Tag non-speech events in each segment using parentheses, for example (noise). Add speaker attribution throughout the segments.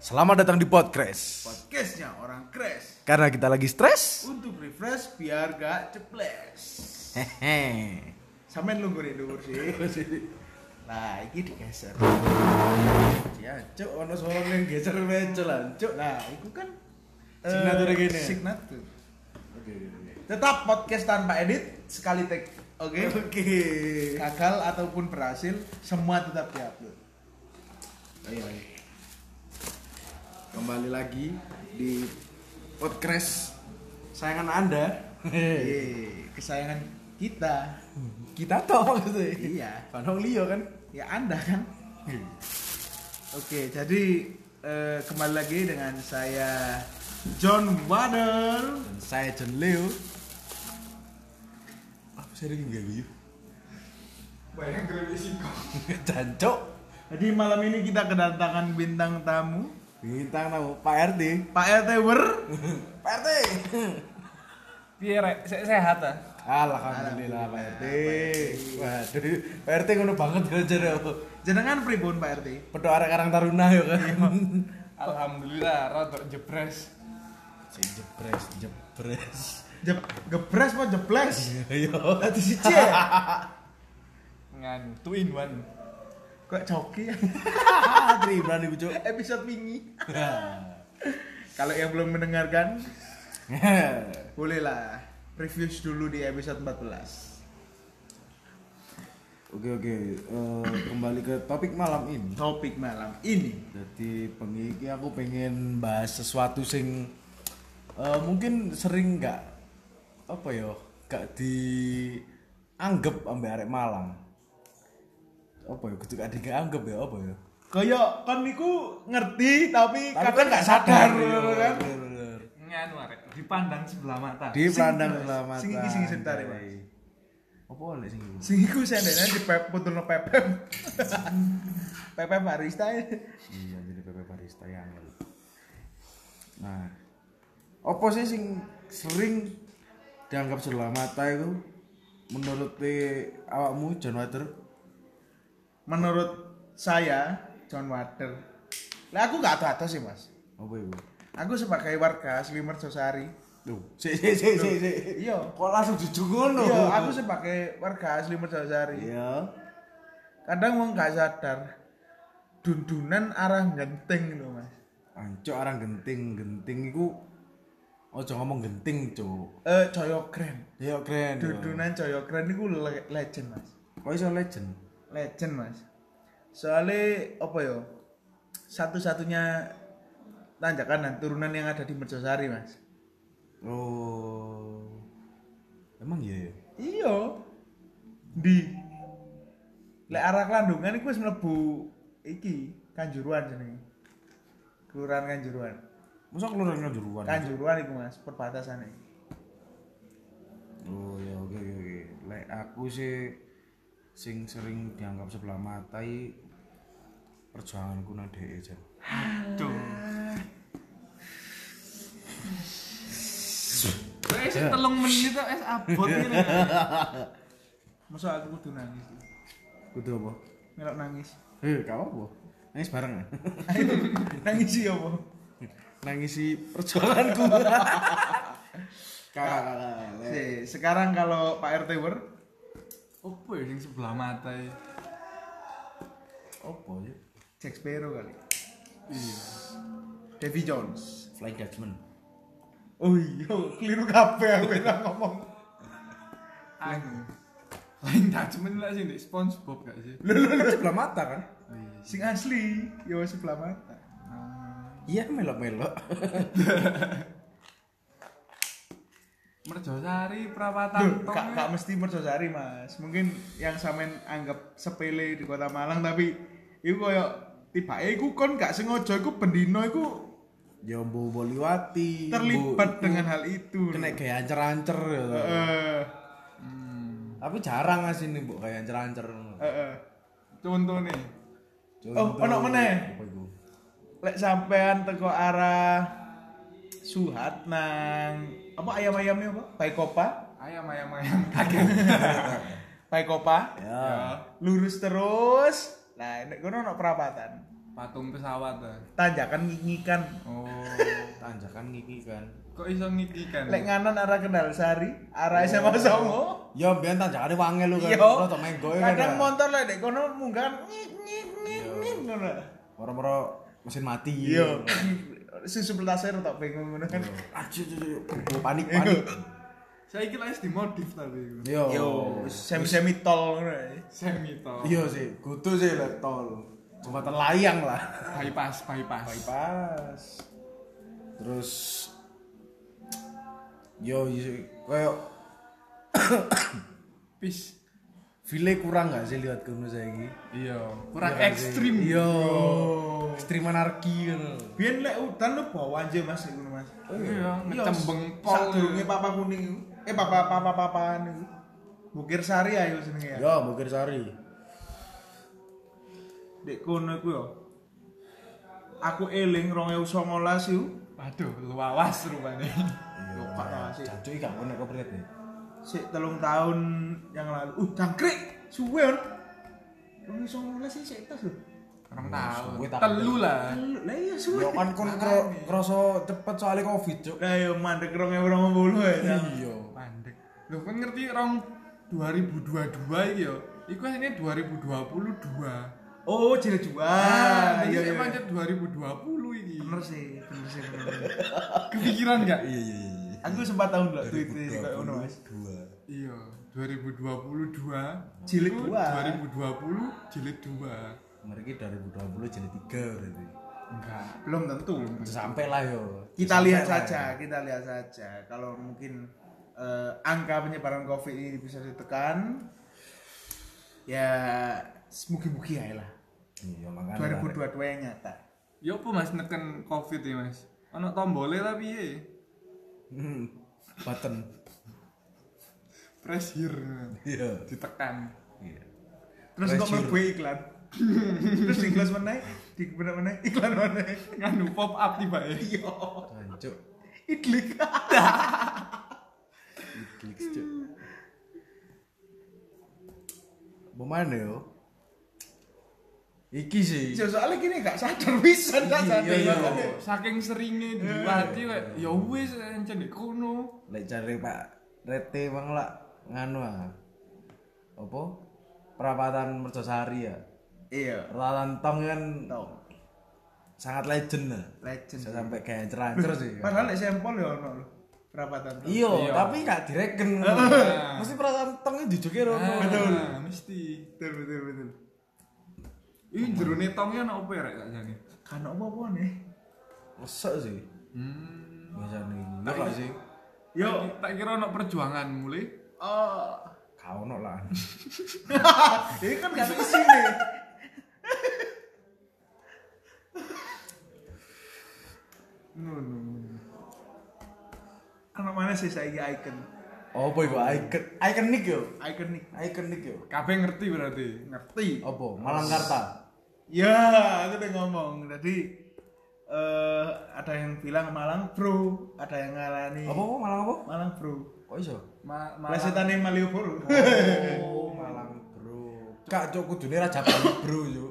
Speaker 1: Selamat datang di podcast.
Speaker 2: Podcastnya orang crash
Speaker 1: Karena kita lagi stres.
Speaker 2: untuk refresh biar gak ceples.
Speaker 1: Hehe.
Speaker 2: Sampai lu gue dhuwur sih. Nah, iki digeser. Ya, cuk ono suara yang geser wae cuk lan. Cuk. Nah, iku kan eh,
Speaker 1: Signature gini.
Speaker 2: Signature. Tetap podcast tanpa edit sekali take. Oke.
Speaker 1: Oke.
Speaker 2: Gagal ataupun berhasil, semua tetap diupload.
Speaker 3: Ayo, ayo. Kembali lagi di podcast sayangan Anda. (laughs)
Speaker 2: Yeay, Iya, kesayangan kita.
Speaker 3: Kita toh maksudnya.
Speaker 2: Iya.
Speaker 3: Panong Leo kan.
Speaker 2: ya anda kan oke jadi eh, kembali lagi dengan saya John Wader
Speaker 3: Dan saya John Leo. Apa saya lagi nggak guyu? (laughs) Banyak Jancok.
Speaker 2: jadi malam ini kita kedatangan bintang tamu
Speaker 3: Bintang tamu Pak RT.
Speaker 2: Pak RT Wer
Speaker 3: Pak RT.
Speaker 4: Piye rek, Se- sehat ah.
Speaker 3: Alhamdulillah Pak RT. Waduh, Pak RT ngono banget ya jare.
Speaker 2: jenengan pribun Pak RT
Speaker 3: Pedo arek-arek taruna ya kan.
Speaker 4: Alhamdulillah rada jebres.
Speaker 3: Si jepres, jepres.
Speaker 2: Jep, gepres mau jeples
Speaker 3: Ayo.
Speaker 2: tadi si C
Speaker 4: Ngan two in one.
Speaker 2: kok coki
Speaker 3: Ah, Tri berani gue cok.
Speaker 2: (laughs) episode mini kalau yang belum mendengarkan bolehlah reviews dulu di episode 14
Speaker 3: (laughs) Oke oke, Eh, kembali ke topik malam ini.
Speaker 2: topik malam ini
Speaker 3: Jadi pengiki aku pengen bahas sesuatu sing eh, mungkin sering nggak apa yo gak dianggap ambil arek Malang. Apa yo kudu gak dianggap ya apa yo.
Speaker 2: kayak kan niku ngerti tapi,
Speaker 3: Tapi
Speaker 2: kadang
Speaker 3: kan
Speaker 2: nggak sadar
Speaker 3: iya,
Speaker 2: gitu kan
Speaker 3: bener-bener.
Speaker 4: Ngan rek, dipandang sebelah mata.
Speaker 3: Di pandang
Speaker 2: Mas.
Speaker 3: selamatan.
Speaker 2: Sing iki, sing sebentar ya, Mas.
Speaker 3: Iya. Apa oleh sing iki?
Speaker 2: sing iku sendene di pep putulno pepep pepep barista ya.
Speaker 3: iya jadi PP barista yang angel. nah apa sih sing sering dianggap sebelah mata itu menurut te- awakmu John Water
Speaker 2: menurut saya John Water lah aku nggak tahu sih mas
Speaker 3: apa itu
Speaker 2: aku sebagai warga asli Mercosari
Speaker 3: tuh si si si si si
Speaker 2: Iya.
Speaker 3: kok langsung jujur ngono
Speaker 2: iya aku sebagai warga asli Mercosari
Speaker 3: iya
Speaker 2: kadang wong nggak sadar dundunan arah genting loh mas
Speaker 3: ancok orang genting genting iku ojo ngomong genting cuk
Speaker 2: eh Coyo Grand
Speaker 3: iya keren
Speaker 2: dundunan Coyo Grand itu le- legend mas
Speaker 3: kok iso legend
Speaker 2: legend mas soalnya apa yo satu-satunya tanjakan dan turunan yang ada di Mercosari mas
Speaker 3: oh emang iya ya
Speaker 2: iyo di lek arah Kelandungan itu wis mlebu iki Kanjuruan jenenge kelurahan Kanjuruan
Speaker 3: masa keluar ngejuruan
Speaker 2: Kanjuruan itu mas perbatasan iki.
Speaker 3: Oh ya oke oke oke. Lek aku sih sing sering dianggap sebelah mata i perjuanganku nang DE jan.
Speaker 4: Tuh. Wes telung menit kok es abot iki rek.
Speaker 2: (laughs) masa aku kudu nangis
Speaker 3: Kudu apa?
Speaker 2: melok nangis
Speaker 3: Eh, gak apa. Nangis bareng (laughs) ya.
Speaker 2: nangis sih apa
Speaker 3: Nangis si perjuanganku. Kakak kakak. Lek,
Speaker 2: Si, sekarang kalau Pak RT wer
Speaker 4: Opo ya sing sebelah mata iki?
Speaker 3: Apa ya?
Speaker 2: Jack Sparrow kali Davy Jones
Speaker 3: Flying Dutchman.
Speaker 2: Oh iya, keliru kabeh aku enak ngomong.
Speaker 4: Anu. Lain judgement lah sing di SpongeBob gak sih?
Speaker 3: Kan sebelah mata kan?
Speaker 2: Sing asli, yo sebelah mata.
Speaker 3: Iya melok-melok.
Speaker 4: Merjosari perawatan
Speaker 2: Duh, kak, kak mesti mercosari mas. Mungkin yang samen anggap sepele di kota Malang tapi itu koyo tiba iku kon gak sengaja iku bendino iku
Speaker 3: Jombo Boliwati.
Speaker 2: terlibat dengan hal
Speaker 3: Bu,
Speaker 2: itu.
Speaker 3: kena gaya ancer-ancer ya.
Speaker 2: Heeh.
Speaker 3: Tapi jarang ngasih nih, Bu, gaya ancer-ancer.
Speaker 2: Heeh.
Speaker 4: Contohnya
Speaker 2: Oh, ono meneh.
Speaker 3: Apa iku?
Speaker 2: Lek sampean teko arah Suhat nang apa ayam-ayamnya apa? Paikopa,
Speaker 4: ayam ayam ayam (laughs) kaget.
Speaker 2: Paikopa.
Speaker 3: Ya.
Speaker 2: lurus terus nah nek kono ono perapatan
Speaker 4: patung pesawat ta.
Speaker 2: tanjakan ngingikan
Speaker 4: Oh.
Speaker 3: tanjakan gigi kan
Speaker 4: Kok iso ngikikan?
Speaker 2: lek nganan arah Kendal Sari arah SMA Songo
Speaker 3: ya biar tanjakannya wangi lu kan
Speaker 2: Iya.
Speaker 3: Oh. rotok menggo ya Iya.
Speaker 2: kadang
Speaker 3: kan
Speaker 2: motor lek dek kono munggah ngik ngik ngik ngik ngono
Speaker 3: moro-moro mesin mati
Speaker 2: iya susu pelasir tok bingung ngono
Speaker 3: Iya.
Speaker 2: kan
Speaker 3: Aji, panik panik
Speaker 4: Saiki lek wis dimodif tapi iku.
Speaker 3: yo
Speaker 2: yo semi semi Iya. tol ngono ya.
Speaker 4: Semi to.
Speaker 3: iya sih kudu sih lah tol jembatan layang lah
Speaker 4: Bypass, bypass.
Speaker 3: bypass terus yo yo- kayak
Speaker 4: Peace.
Speaker 3: file kurang gak sih lihat kamu saya ini
Speaker 4: Iya, kurang
Speaker 3: Iya gak sih?
Speaker 4: ekstrim.
Speaker 3: yo ekstrim anarki kan
Speaker 2: biyen lek udan lu bawa anjir Mas iku Mas
Speaker 4: Iya,
Speaker 2: Iya,
Speaker 4: ngecembeng pol.
Speaker 2: sadurunge papa kuning iku. eh papa papa papaan iku Bukir Sari ayo senenge ya
Speaker 3: yo Bogor Sari
Speaker 2: dek kono iku yo aku eling 2019 iku
Speaker 4: Waduh, luawas rupane.
Speaker 2: yo Pak Rasi.
Speaker 3: Jancuk iki gak ngono kok berat nih
Speaker 2: sik telung tahun yang lalu uh jangkrik suwe on 2019 sih sik tas lho
Speaker 4: Orang tahu.
Speaker 3: suwe tak
Speaker 4: Telu lah.
Speaker 2: Telu- lah iya suwe
Speaker 3: yo kan kon kro- kroso cepet soalnya covid cuk
Speaker 2: lah yo mandek 2020 ya Dam.
Speaker 3: iya
Speaker 4: Pandek. Lho, kan ngerti rong 2022 iki yo. Iku asline 2022.
Speaker 2: oh jilid dua
Speaker 4: Ah,
Speaker 2: iya iya
Speaker 4: iya pancet 2020 iki.
Speaker 2: bener sih bener sih bener bener.
Speaker 4: Kepikiran gak?
Speaker 3: iya iya iya
Speaker 2: aku sempat tahu nggak tweet sih kayak ngono mas
Speaker 3: dua
Speaker 4: Iya, 2022
Speaker 2: Jilid
Speaker 4: Iku
Speaker 2: dua.
Speaker 4: 2020 jilid 2.
Speaker 3: mereka 2020 jadi tiga berarti
Speaker 4: Enggak.
Speaker 2: belum tentu
Speaker 3: sampai lah yo
Speaker 2: kita lihat saja kita lihat saja kalau mungkin eh, angka penyebaran covid ini bisa ditekan ya mugi-mugi ya lah
Speaker 3: iya makanya
Speaker 2: 2022 yang nyata
Speaker 4: Ya apa Mas neken Covid ya Mas? Ono tombolnya tapi ya.
Speaker 3: Hmm, button
Speaker 4: Press here.
Speaker 3: iya
Speaker 4: Ditekan.
Speaker 3: iya
Speaker 2: terus kok
Speaker 3: Pressure.
Speaker 2: mlebu iklan (laughs) terus di kelas mana di bener mana iklan mana
Speaker 4: Nganu pop up tiba
Speaker 2: (laughs)
Speaker 4: ya. Iya.
Speaker 3: Jancuk.
Speaker 2: idlik (laughs)
Speaker 3: Klik cuk. Bagaimana yo? Iki sih.
Speaker 2: Ya, soalnya gini gak sadar bisa
Speaker 3: Iya,
Speaker 2: gak sadar
Speaker 3: iya.
Speaker 2: makanya.
Speaker 4: Saking seringnya di hati kayak ya wis encen di kono.
Speaker 3: Lek cari Pak Rete Bang lah nganu ah. Apa? Perapatan Mercosari ya.
Speaker 2: iya
Speaker 3: Peralatan Tong kan
Speaker 2: tau
Speaker 3: sangat legend lah.
Speaker 2: legend
Speaker 3: Bisa sampai kayak cerancer sih. kan.
Speaker 2: padahal lek sampel ya ono lho perapatan tuh.
Speaker 3: Iya,
Speaker 4: Iya.
Speaker 3: tapi gak (laughs) direken. Mesti peralatan Tongnya jujuke rono.
Speaker 4: Betul. Nah, Mesti.
Speaker 2: betul betul betul
Speaker 4: Ini jerone tongnya ono opo ya rek sakjane?
Speaker 2: kan apa-apa nih
Speaker 3: Masa sih?
Speaker 4: Hmm.
Speaker 3: Biasanya ini. Iya gak sih?
Speaker 4: Yo, tak kira ono perjuangan mulai.
Speaker 2: oh
Speaker 3: Kau no lah.
Speaker 2: (laughs) ini kan gak ada kesini no no no. Kenapa mana sih saya icon
Speaker 3: Oh boy, icon ikonik yo.
Speaker 2: ikonik
Speaker 3: Ikonik yo.
Speaker 4: Kabeh ngerti berarti.
Speaker 2: ngerti
Speaker 3: Apa? Malangkarta.
Speaker 2: Ya, aku udah ngomong. Tadi eh ada yang bilang Malang Bro, ada yang ngarani
Speaker 3: Apa apa Malang apa?
Speaker 2: Malang Bro.
Speaker 3: Kok iso?
Speaker 4: Ma ma-
Speaker 2: Plesetane Malioboro.
Speaker 3: Oh, Malang bro. Kak cok kudune Raja Bali bro yo.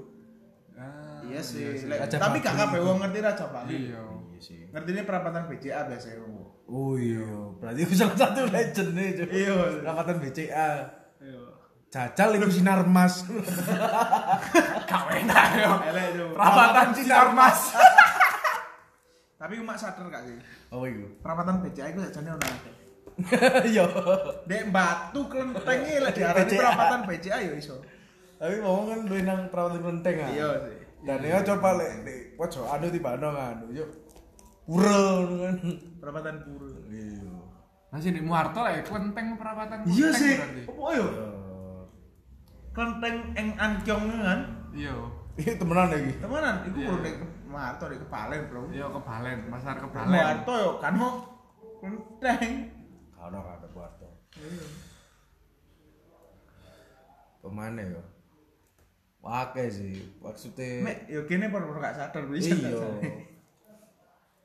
Speaker 4: Ah,
Speaker 2: iya sih. Lek-
Speaker 3: Raja
Speaker 2: tapi
Speaker 3: Bali.
Speaker 2: gak kabeh wong ngerti Raja Bali.
Speaker 4: Iya.
Speaker 3: Iya sih.
Speaker 2: Ngertine perapatan BCA biasanya wong.
Speaker 3: Oh iya, berarti aku salah satu legend nih cok.
Speaker 2: Iya.
Speaker 3: Rapatan BCA.
Speaker 2: Iya.
Speaker 3: Jajal itu sinar
Speaker 2: (laughs)
Speaker 3: mas.
Speaker 4: Kawena yo.
Speaker 2: Elek itu.
Speaker 4: Perapatan sinar mas.
Speaker 2: Tapi mak sadar gak sih?
Speaker 3: Oh iya. (laughs)
Speaker 2: Perapatan BCA itu sajane ono akeh.
Speaker 3: Yo.
Speaker 2: Dek batu klenteng e lek diarani
Speaker 3: BCA.
Speaker 2: perapatan BCA ya iso.
Speaker 3: Tapi ngomong kan duwe nang perawatan kelenteng ah.
Speaker 2: Iya sih.
Speaker 3: Dan ya coba lek di pojok anu ah, tibano kan. Yo. Pura ngono kan.
Speaker 2: Perapatan Puro.
Speaker 3: Iya.
Speaker 4: Masih di Muharto lah, ya, kelenteng perapatan
Speaker 2: Iya
Speaker 4: kelenteng
Speaker 2: sih.
Speaker 4: berarti.
Speaker 2: Apa yo?
Speaker 3: Eh,
Speaker 2: Klenteng eng Ankyong kan.
Speaker 4: Iya.
Speaker 3: Ini temenan lagi.
Speaker 2: temenan iku urung nek Marto nek kepalen bro
Speaker 4: Iya kebalen, pasar kebalen.
Speaker 2: Marto yo kan mau klenteng
Speaker 3: Kalau nggak ada Barto.
Speaker 2: Hmm.
Speaker 3: Kemana ya? Pakai sih, maksudnya.
Speaker 2: mek yo kene perlu gak sadar bisa
Speaker 3: Iya.
Speaker 2: (laughs)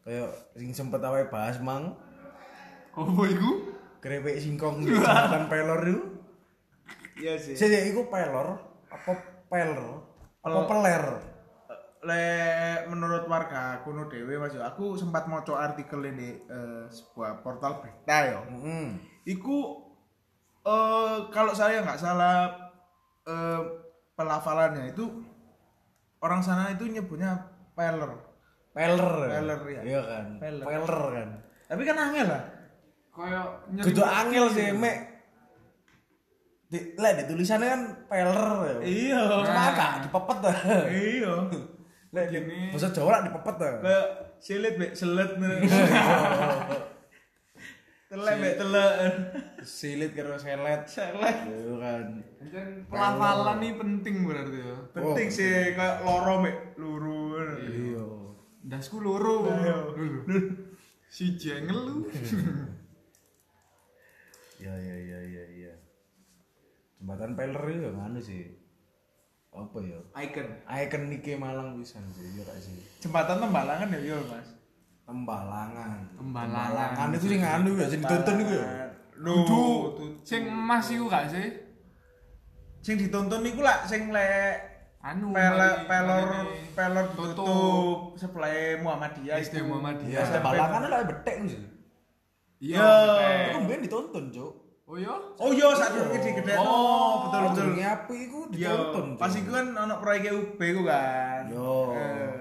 Speaker 3: Kayak sing sempet awake bahas mang
Speaker 4: Opo iku?
Speaker 3: krewek singkong di jembatan pelor itu.
Speaker 2: iya sih
Speaker 3: Sih, sih, iku pelor apa peler? Apa peler?
Speaker 2: le menurut warga kuno dewe mas yo, aku sempat moco artikel ini eh, sebuah portal berita yo. Iku eh, kalau saya nggak salah eh, pelafalannya itu orang sana itu nyebutnya peler.
Speaker 3: Peler.
Speaker 2: Peler, iya.
Speaker 3: Iya kan.
Speaker 2: Peler.
Speaker 3: Peler kan.
Speaker 2: Tapi kan angel lah.
Speaker 4: Kayak nyeri
Speaker 3: Kudu angel sih, Mek. Di, lah di tulisannya kan peler ya.
Speaker 2: Iya.
Speaker 3: Cuma
Speaker 4: Nah.
Speaker 3: agak dipepet dah.
Speaker 2: (laughs) Iya.
Speaker 3: Lah di bahasa Jawa lah dipepet dah.
Speaker 2: Kayak silit be selet nih. (laughs) Telek be telek.
Speaker 3: Silit karo selet.
Speaker 2: Selet.
Speaker 3: Iya kan.
Speaker 4: Dan pelafalan ini penting berarti ya
Speaker 2: Penting sih kayak loro be luru.
Speaker 3: Iya.
Speaker 4: Dasku loro
Speaker 2: iya.
Speaker 4: Lho. Si jengel lu (laughs)
Speaker 3: Iya iya iya iya iya. Jembatan peler itu ya, nganu sih. Apa ya?
Speaker 2: Icon.
Speaker 3: Icon nike Malang pisan sih, iya gak sih.
Speaker 2: Jembatan tembalangan ya yo mas.
Speaker 3: Tembalangan.
Speaker 4: Tembalangan.
Speaker 3: itu sih nganu ya, sing ditonton iku ya.
Speaker 2: Lu.
Speaker 4: Kudu Sing emas iku gak sih?
Speaker 2: Sing ditonton niku lah sing le
Speaker 4: Anu
Speaker 2: pelor
Speaker 4: mari-
Speaker 2: pelor
Speaker 4: mari ini.
Speaker 2: pelor
Speaker 4: Tutup.
Speaker 2: tutup sebelah Muhammadiyah itu.
Speaker 4: SD
Speaker 3: Iya,
Speaker 4: Muhammadiyah
Speaker 3: tembalangan lah betek sih.
Speaker 4: Iya
Speaker 3: Aku mbien ditonton, Cuk.
Speaker 4: Oh iya?
Speaker 2: Oh iya saat itu di gede
Speaker 4: Oh,
Speaker 2: betul betul.
Speaker 3: Jenenge api iku ditonton.
Speaker 2: Yo,
Speaker 3: Cuk.
Speaker 2: pas iku kan ono proyek UB ku kan.
Speaker 3: Yo.
Speaker 2: Eh,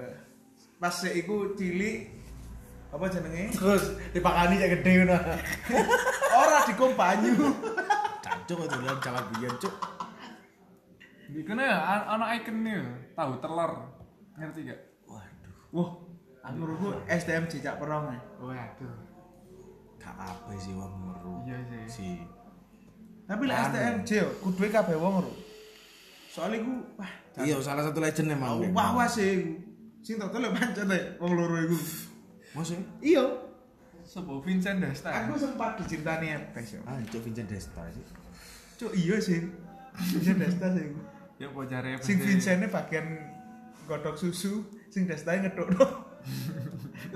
Speaker 2: pas sik iku cilik apa jenenge? (laughs)
Speaker 3: terus dipakani cek gede ngono.
Speaker 2: Ora dikompanyu.
Speaker 3: Cacuk itu dalam jalan biyen, Cuk.
Speaker 4: Di kene ya, an- ana ikonnya tahu telur. Ngerti gak?
Speaker 3: Waduh,
Speaker 2: Wah, menurutku SDM cicak perong ya.
Speaker 4: Waduh.
Speaker 3: gak ape sih wong meru.
Speaker 4: Iya sih.
Speaker 3: Si.
Speaker 2: Tapi lek STM yo kudu kabeh wong ro. Soale ku wah,
Speaker 3: Iya, salah satu legend emang.
Speaker 2: aku
Speaker 3: Nek.
Speaker 2: Oh, wah wah sih. iku. Sing tak telok pancen rek wong loro iku.
Speaker 3: Mas ya?
Speaker 2: Iya,
Speaker 4: Sopo Vincent Desta.
Speaker 2: aku sempat dicintani Epes yo.
Speaker 3: Ah, Cuk Vincent Desta sih.
Speaker 2: Cuk iya sih. Vincent Desta sih. iku.
Speaker 4: Ya bocare
Speaker 2: Sing Vincentnya bagian godok susu, sing Desta ngedok no. (laughs)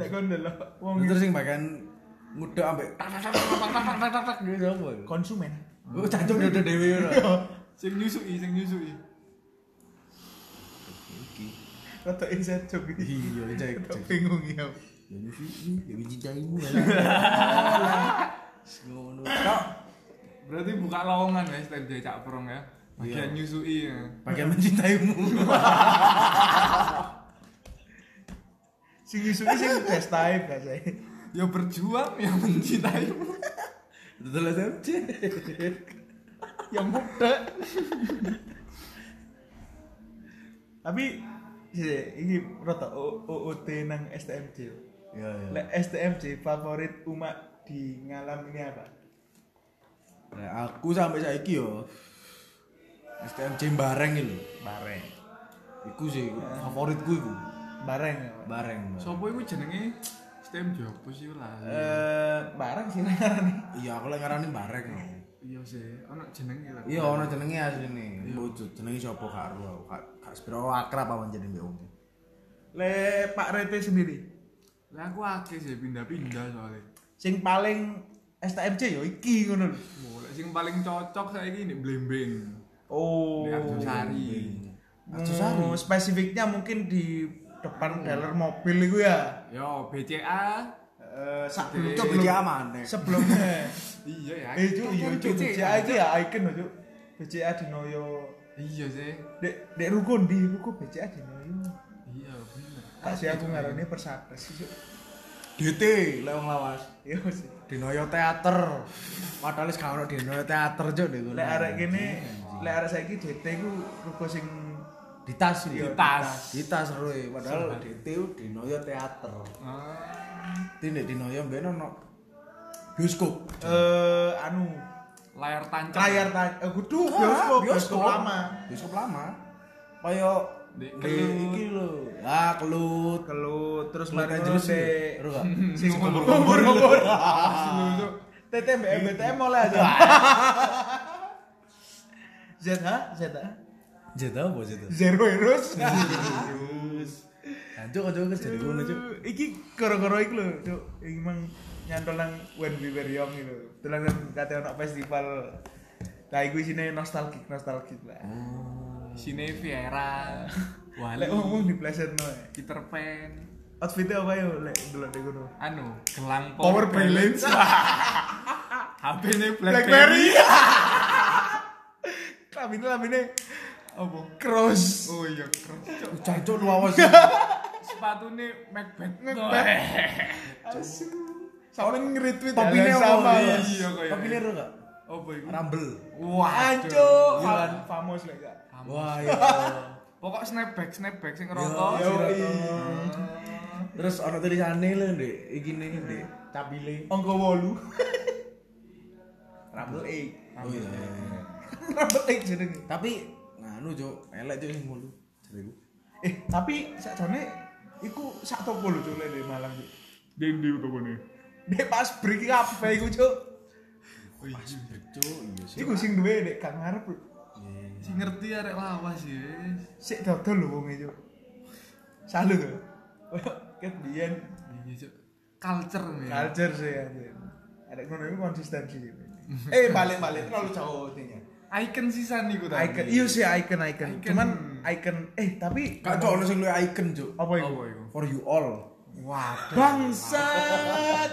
Speaker 2: Lek kon ndelok wong
Speaker 3: Terus sing bagian ngudek ambek tak tak tak tak tak tak tak tak gitu apa? ya?
Speaker 2: konsumen.
Speaker 3: Oh, cacuk udah dewe ora.
Speaker 4: Sing nyusui, sing nyusui.
Speaker 2: Rada insight job iki.
Speaker 3: Iya, cek.
Speaker 2: Rada
Speaker 3: cek.
Speaker 2: Bingung ya.
Speaker 3: Ya mesti ya mencintaimu ya. Ngono. Kok
Speaker 4: Berarti buka lowongan ya setiap dia cak perong ya.
Speaker 2: Iya.
Speaker 4: Bagian nyusui ya.
Speaker 3: bagian mencintaimu.
Speaker 2: Sing isuke sing Desta ae biasane.
Speaker 4: Ya berjuang yang mencintaimu.
Speaker 3: Betul SMC.
Speaker 2: yang muda tapi sih, ini rata O- OOT nang STMJ
Speaker 3: Ya ya.
Speaker 2: lek STMJ favorit umat di ngalam ini apa
Speaker 3: Lek aku sampai saiki yo STMJ bareng iki lho.
Speaker 2: bareng
Speaker 3: Iku sih favoritku iku.
Speaker 2: bareng ya Pak.
Speaker 3: Bareng. Bareng.
Speaker 4: Sopo iku jenenge STEM jopo sih lah.
Speaker 2: eh bareng sih ngarani
Speaker 3: Iya, aku lek ngarani bareng. lho.
Speaker 4: Iya sih, ana jenenge lah.
Speaker 3: Iya, ono jenenge asline. Wujud jenenge sapa gak ero aku. Gak gak sepiro akrab apa jenenge mbek wong.
Speaker 2: le Pak Rete sendiri
Speaker 4: Lah aku akeh sih pindah-pindah soalnya.
Speaker 2: sing paling STMJ yo iki ngono lho.
Speaker 4: Mau lek sing paling cocok saiki nek Blembing.
Speaker 2: oh
Speaker 4: Nek Arjosari.
Speaker 3: Arjosari.
Speaker 2: Hmm, spesifiknya mungkin di depan dealer mobil itu ya
Speaker 4: Yo BCA.
Speaker 2: Eh, sak
Speaker 4: Oke.
Speaker 2: blok
Speaker 3: Iki
Speaker 2: lho.
Speaker 3: amane.
Speaker 2: (laughs) sebelumnya
Speaker 4: Iya ya.
Speaker 2: Eh cuk, iya cuk, BCA itu ya icon loh cuk. BCA di Noyo.
Speaker 4: Iya sih.
Speaker 2: Dek, dek rukun di ruko BCA di Noyo.
Speaker 4: Iya bener.
Speaker 2: Tak sih aku ngarani persapres sih cuk.
Speaker 3: DT lek wong lawas.
Speaker 2: Iya sih.
Speaker 3: Dinoyo teater. Padahal wis gak ono Dinoyo teater juk niku.
Speaker 2: Lek arek kene, lek arek saiki DT ku ruko sing
Speaker 3: di tas lho.
Speaker 2: Iya,
Speaker 3: Di
Speaker 2: di
Speaker 3: tas.
Speaker 4: tas.
Speaker 3: Di tas roe. Padahal DT ku Dinoyo teater.
Speaker 4: Ah,
Speaker 3: Tindek Dinoyo mbek ono bioskop.
Speaker 2: eh anu
Speaker 4: layar tancap.
Speaker 2: layar ta eh kudu
Speaker 3: Ah,
Speaker 2: bioskop, bioskop lama.
Speaker 3: Bioskop lama. Kaya
Speaker 4: Dek
Speaker 3: Dek
Speaker 4: Kelut.
Speaker 3: iki lho. Ah, kelut.
Speaker 2: Kelut terus
Speaker 3: Kelut
Speaker 2: mari
Speaker 3: Angeles
Speaker 2: terus
Speaker 3: lho.
Speaker 2: (laughs)
Speaker 3: Ero gak?
Speaker 2: sing
Speaker 4: Kumpul-kumpul.
Speaker 2: kumpul-kumpul.
Speaker 4: Asli,
Speaker 3: Ah.
Speaker 4: Cuk.
Speaker 2: TTMBM BTM oleh aja. (laughs) ZH, ZH.
Speaker 3: Jeda apa jeda?
Speaker 2: Zero Heroes.
Speaker 3: Anjuk aja kerja di ngono, Cuk.
Speaker 2: Aduh, iki koro-koro iki lho, Cuk. Iki mang nyantol nang When We Were Young iki lho. Tulang nang kate ono festival.
Speaker 3: Hmm.
Speaker 2: Lah iku isine nostalgic, nostalgic lah.
Speaker 4: Sine Viera.
Speaker 3: Wah,
Speaker 2: Lek ngomong diplesetno. eh.
Speaker 4: Peter Pan
Speaker 2: Outfitnya apa yo lek delok di kono?
Speaker 4: anu gelang
Speaker 2: Power balance.
Speaker 4: HP ini
Speaker 2: (laughs)
Speaker 4: BlackBerry
Speaker 2: Blackberry. Klamine klamine apa? Cross.
Speaker 4: oh iya keren
Speaker 3: Cancuk lu awas.
Speaker 4: sepatu nih Macbeth (laughs)
Speaker 2: Asu. Sampe nge-retweet
Speaker 3: Topine
Speaker 2: hal yang
Speaker 3: apa?
Speaker 2: Mas.
Speaker 4: Iya, kayaknya.
Speaker 3: Topine ro gak?
Speaker 4: apa itu
Speaker 3: Rumble.
Speaker 4: wah
Speaker 2: Anco, fam- famos lek gak.
Speaker 3: Wah,
Speaker 2: (laughs)
Speaker 3: iya.
Speaker 4: pokok snapback snapback sing rokok
Speaker 2: Yo,
Speaker 3: Terus ana tulisane lho, Dik. Iki ne, Dik. Capile.
Speaker 2: Angka 8. (laughs) Rambut E.
Speaker 3: Oh iya.
Speaker 2: (laughs) Rambut E jenenge.
Speaker 3: Tapi nganu, Cuk. Elek Cuk sing mulu. Jariku.
Speaker 2: Eh, tapi sakjane iku sak topo lho Cuk, lek di Malang Cuk.
Speaker 4: dendi utawa nih
Speaker 2: Dek pas break kabeh iku Cuk.
Speaker 3: Cuk, iya sih.
Speaker 2: Iku sing duwe dek kang ngarep lho.
Speaker 4: si ngerti arek lawas ya
Speaker 2: Sik dodol lho wong e Cuk. Salut lho. Kayak ket biyen
Speaker 4: iya cok culture nih
Speaker 2: culture sih anjir. Ada ngono iku konsistensi. (laughs) Eh, balik-balik terlalu jauh intinya.
Speaker 4: icon sisan iku tadi
Speaker 2: Icon, iya sih icon icon. Cuman icon eh tapi
Speaker 3: Gak cok ono sing luwih icon, Cuk.
Speaker 2: apa itu?
Speaker 4: apa iku
Speaker 3: For you all.
Speaker 4: waduh
Speaker 2: (laughs) Bangsat.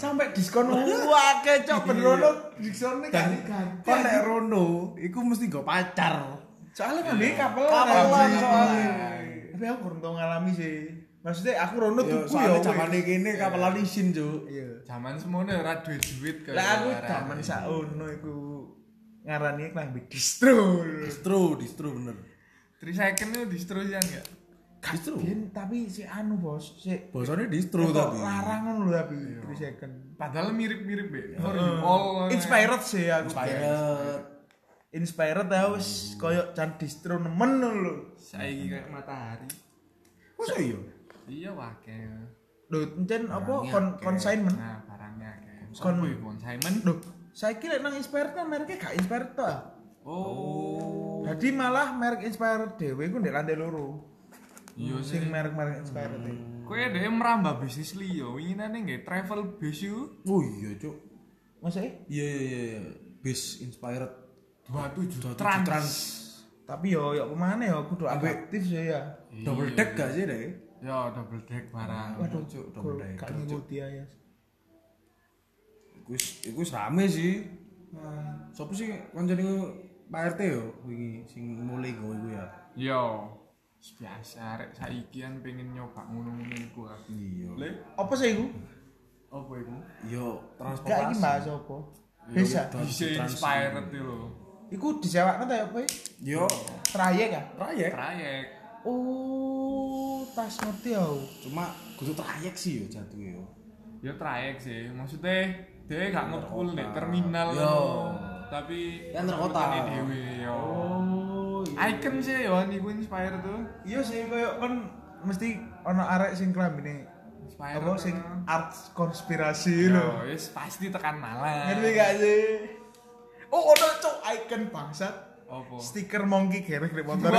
Speaker 2: Sampai diskon wae cok benerono diskon nih kali
Speaker 3: Kon
Speaker 2: ganti.
Speaker 3: nek Rono, iku mesti go pacar.
Speaker 2: Soalnya kan dia kapelan.
Speaker 3: Kapelan soalnya.
Speaker 2: Tapi aku kurang tau ngalami sih. Maksudnya aku rono
Speaker 3: Yo,
Speaker 2: tuku ya.
Speaker 3: soalnya
Speaker 2: weh.
Speaker 3: jamane kene kapelan isin, Cuk.
Speaker 2: Iya.
Speaker 4: zaman semuanya ora duit duit kayak
Speaker 2: Lah aku zaman saono iku ngarani klang big (laughs) distro.
Speaker 3: Distro, distro bener.
Speaker 4: Trisecond itu distro sisan gak
Speaker 3: Distro.
Speaker 2: Bin, tapi si anu bos, si
Speaker 3: Bahasane distro tapi.
Speaker 2: larangan lu tapi 3 second.
Speaker 4: padahal mirip-mirip be for you all
Speaker 2: Inspired sih aku.
Speaker 3: Pirate.
Speaker 2: Inspired tau wis koyo can distro nemen lho.
Speaker 4: saiki kayak matahari
Speaker 3: Masa iya?
Speaker 4: iya wakil
Speaker 2: Lho, encen apa kon consignment.
Speaker 4: nah barangnya kayak
Speaker 2: Kon-
Speaker 4: kon consignment
Speaker 2: Lho, saiki lek nang Inspired kan mereknya gak Inspired to. ah.
Speaker 4: oh
Speaker 2: Jadi malah merek Inspired dhewe iku ndek lantai loro.
Speaker 4: iya sih Hmm.
Speaker 2: Sing merek-merek Inspired e.
Speaker 4: kowe dhewe merambah bisnis liya winginane nggih travel bis yo
Speaker 3: Oh iya, Cuk.
Speaker 2: Maksudnya?
Speaker 3: Iya iya iya, iya. Bis inspired.
Speaker 4: 27
Speaker 3: 27
Speaker 4: trans,
Speaker 3: trans.
Speaker 2: Tapi yo yo kemana yo kudu
Speaker 3: Ambe-
Speaker 2: aktif sih ya.
Speaker 3: Double deck gak sih, Dek?
Speaker 4: ya double deck barang
Speaker 2: Waduh,
Speaker 3: Cuk,
Speaker 2: kok
Speaker 3: double deck.
Speaker 2: gak ngikuti aja.
Speaker 3: Iku iku rame sih. Sopo sih kancane Pak RT yo wingi sing mulai gawe iku ya.
Speaker 4: yo biasa rek saiki kan pengen nyoba ngono-ngono iku ah.
Speaker 3: Iya.
Speaker 4: le
Speaker 2: Apa sih iku?
Speaker 4: apa iku
Speaker 3: Yo
Speaker 2: Gak iki
Speaker 3: transportasi.
Speaker 2: bahas apa? Bisa.
Speaker 4: bisa inspired itu lho
Speaker 2: Iku disewakno ta ya apa? e? ya?
Speaker 3: Yo
Speaker 2: Trayek ah.
Speaker 3: trayek.
Speaker 4: trayek
Speaker 2: Oh, tas ngerti aku.
Speaker 3: Cuma kudu trayek sih yo jatuh yo.
Speaker 4: yo trayek sih maksudnya dhewe gak ngepul nek terminal
Speaker 3: Yo.
Speaker 4: tapi
Speaker 3: Yang terkota.
Speaker 4: ngepulane dhewe yo
Speaker 2: Oh,
Speaker 4: icon sih yo niku inspired tuh
Speaker 2: iya sih koyo kan mesti ono arek sing klambine
Speaker 4: inspired
Speaker 2: apa sing
Speaker 4: tuh.
Speaker 2: art konspirasi
Speaker 4: yo
Speaker 2: lho.
Speaker 4: wis pasti tekan malam
Speaker 2: Ngerti gak sih? Oh, ono cok icon bangsat.
Speaker 4: Apa?
Speaker 2: Stiker monkey gerek di motor.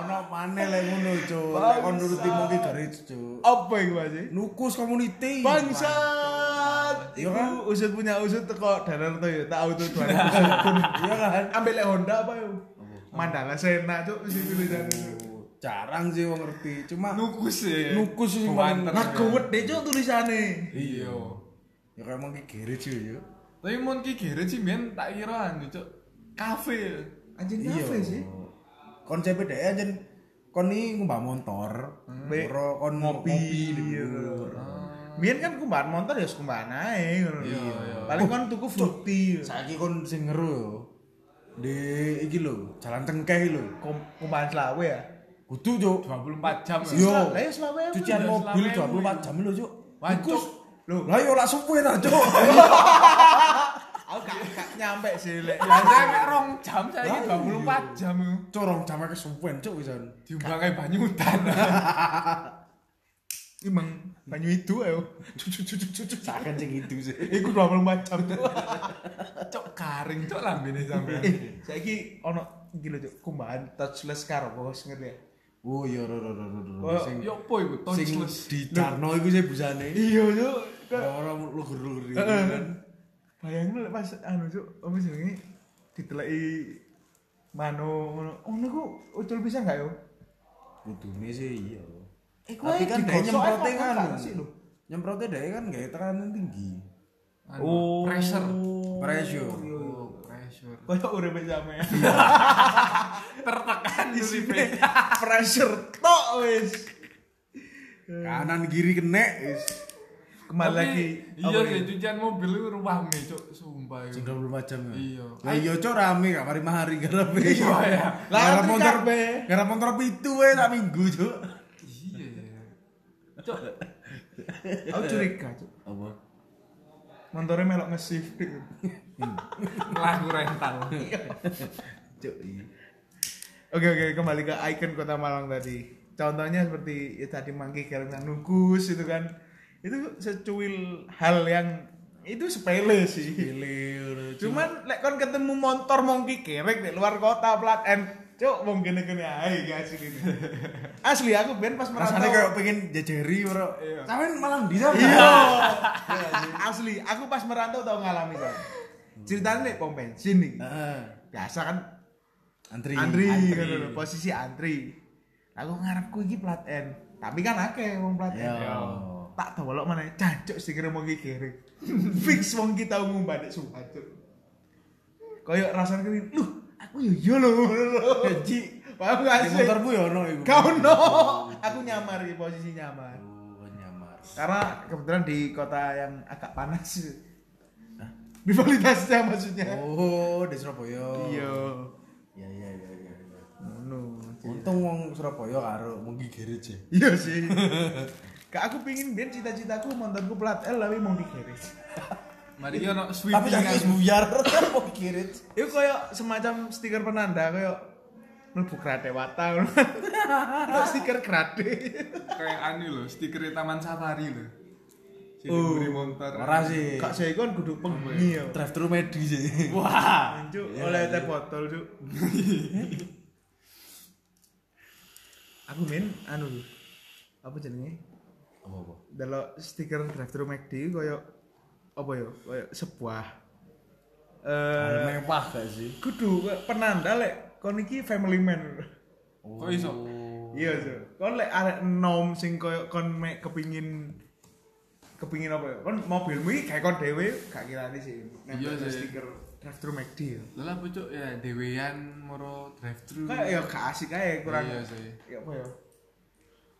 Speaker 3: Ono maneh lek ngono, Cuk. Lek kon nuruti mungkin garis, Cuk.
Speaker 2: Apa iku sih?
Speaker 3: Nukus community.
Speaker 2: Bangsat.
Speaker 3: Iya
Speaker 2: Iku
Speaker 3: kan?
Speaker 2: usut punya usut teko danar to ya, tak auto 2000.
Speaker 3: Iya kan?
Speaker 2: Ambil lek Honda apa yo? Mandala Sena cok mesti tulisan itu.
Speaker 3: Jarang sih wong ngerti. Cuma
Speaker 4: nukus sih
Speaker 3: Nukus sih
Speaker 4: Bukan
Speaker 3: paling-
Speaker 4: terus.
Speaker 2: Ngegowet deh cok tulisane.
Speaker 4: iya
Speaker 3: ya kayak mungkin garis yo yo.
Speaker 4: tapi mon ki geret sih men tak kira anu cok kafe ya.
Speaker 2: Anjing kafe
Speaker 3: Iya
Speaker 2: sih.
Speaker 3: Konsep dhek aja kon iki ngumbah motor, loro kon ngopi, libur.
Speaker 2: Mien kan kumbahan motor ya kumbahan ae ngono lho. Paling kon tuku fruity.
Speaker 3: Saiki kon sing ngeru yo. Di iki lho, jalan cengkeh lho.
Speaker 2: Kum- Kumbahan selawe ya.
Speaker 3: Kudu yo.
Speaker 4: 24 jam ya.
Speaker 3: Yo.
Speaker 2: Sel- Lah ya selawe. apa?
Speaker 3: Cucian
Speaker 4: Udah
Speaker 3: mobil
Speaker 4: selama
Speaker 3: 24 jam lho, Cuk.
Speaker 4: Wancuk.
Speaker 3: Lho, lah yo lak suwe ta, Cuk. (laughs)
Speaker 2: Aku gak gak nyampe sih lek.
Speaker 4: Lah saya mek rong jam saya ini 24 jam.
Speaker 3: Corong jam ke suwen, Cuk, pisan.
Speaker 4: Diumbang kayak banyu udan.
Speaker 2: Emang banyu itu ayo.
Speaker 3: Saken sing itu sih.
Speaker 2: Iku 24 jam.
Speaker 4: Cok garing cok lambene sampean.
Speaker 2: Eh, saiki ono iki lho Cuk, kumbahan touchless karbo wis ngerti ya.
Speaker 3: Oh iya, ro ro ro ro, ro.
Speaker 2: Oh,
Speaker 3: Sing
Speaker 4: Yo po iku
Speaker 3: sing
Speaker 4: touchless.
Speaker 3: di Darno iku sih busane.
Speaker 2: Iya yo.
Speaker 3: Orang luger-luger gitu
Speaker 2: Heeh.
Speaker 3: kan.
Speaker 2: Bayangin lek pas anu cuk, apa jenenge diteleki mano ngono. Ngono ku ucul bisa enggak yo?
Speaker 3: Kudune sih iya.
Speaker 2: Iku
Speaker 3: Tapi kan dia nyemprote kan.
Speaker 2: sih lho.
Speaker 3: Nyemprote dia kan gak tekanan tinggi.
Speaker 4: Anu, pressure
Speaker 3: Oh. Pressure.
Speaker 4: oh, pressure
Speaker 2: Kayak urip sampean.
Speaker 4: tertekan di sini
Speaker 2: Iya, (laughs) Pressure tok wis.
Speaker 3: Kanan kiri kena is.
Speaker 2: Kembali lagi
Speaker 4: iya sih cucian mobil itu ruangnya cok sumpah itu
Speaker 3: 24 jam ya.
Speaker 4: Iya.
Speaker 3: Lah iya cok rame gak mari mahari gara Iya
Speaker 4: ya.
Speaker 3: Lah
Speaker 2: Lah,
Speaker 3: gara
Speaker 2: ngerti
Speaker 3: motor
Speaker 2: kabeh.
Speaker 3: gara motor pitu wae tak minggu cok.
Speaker 4: iya ya cok
Speaker 2: aku curiga, Cuk.
Speaker 3: Apa?
Speaker 2: Montore melok nge-shift.
Speaker 4: lagu rental
Speaker 3: Cok iya.
Speaker 2: Oke oke kembali ke ikon kota Malang tadi. Contohnya seperti ya tadi Mangki Kalengan Nugus itu kan. Itu secuil hal yang itu sepele sih. Cuman lek kon ketemu motor mongki kerek di luar kota plat N Cuk, wong gini-gini ae iki asli (laughs) ini. Asli aku ben pas
Speaker 3: Rasanya kayak
Speaker 2: merantau.
Speaker 3: pengen jajeri bro. Sampean malam di sana.
Speaker 2: Iya. asli, aku pas merantau tau ngalami kan. Ceritanya nih pom bensin nih.
Speaker 3: Heeh.
Speaker 2: Biasa kan
Speaker 3: Antri.
Speaker 2: antri, kan, lho, posisi antri. Aku ngarepku iki plat N. Tapi kan akeh wong plat N.
Speaker 3: Iya.
Speaker 2: Tak tau lho mana cancuk sing kira mung kiri. (laughs) Fix wong kita umum badak sumpah cuk. Koyok rasane kene, "Loh, aku yo yo lho."
Speaker 3: Ji,
Speaker 2: Paham gak
Speaker 3: Di
Speaker 2: sih?
Speaker 3: motormu ya ono iku.
Speaker 2: Kau no. Aku nyamar di posisi nyamar.
Speaker 3: Oh, nyamar.
Speaker 2: Karena kebetulan di kota yang agak panas. Rivalitasnya maksudnya.
Speaker 3: Oh, di Surabaya.
Speaker 2: Iya.
Speaker 3: Iya iya iya iya. iya.
Speaker 2: Ngono.
Speaker 3: Untung wong Surabaya karo mungkin gereja.
Speaker 2: Iya sih. Kak aku pingin biar cita-citaku montorku plat L tapi mau dikiris.
Speaker 4: mari kita nak
Speaker 3: Tapi
Speaker 4: sweeping
Speaker 3: tak wis
Speaker 4: kan
Speaker 3: buyar (laughs) mungkin gereja.
Speaker 2: Itu koyo semacam stiker penanda koyo mlebu krate wata. ngono. stiker krate.
Speaker 4: kayak anu loh stiker taman safari loh jadi beri motor
Speaker 3: Ora sih.
Speaker 2: Kak saya kan kudu pengguni ya.
Speaker 3: Drive thru Medi sih.
Speaker 4: wah
Speaker 2: Cuk, oleh teh botol, Cuk. aku main anu lho. Apa jenenge?
Speaker 3: Apa-apa?
Speaker 2: Delok stiker drive thru McD koyo apa yo? Koyo sebuah eh
Speaker 3: Hal mewah gak sih?
Speaker 2: kudu koyo penanda lek kon iki family man.
Speaker 4: kok iso
Speaker 2: Iya,
Speaker 4: Oh.
Speaker 2: Cuk. Kon lek arek nom sing koyo kon mek kepingin kepingin apa ya? Kon mobilmu iki gawe kon dhewe gak kirani sih. Nek
Speaker 4: Iya,
Speaker 2: ada
Speaker 4: sih.
Speaker 2: stiker drive thru McD ya.
Speaker 4: lah apa cok ya dewean moro drive thru
Speaker 2: Kayak ya gak asik ae kurang.
Speaker 4: iya sih
Speaker 2: Ya apa ya?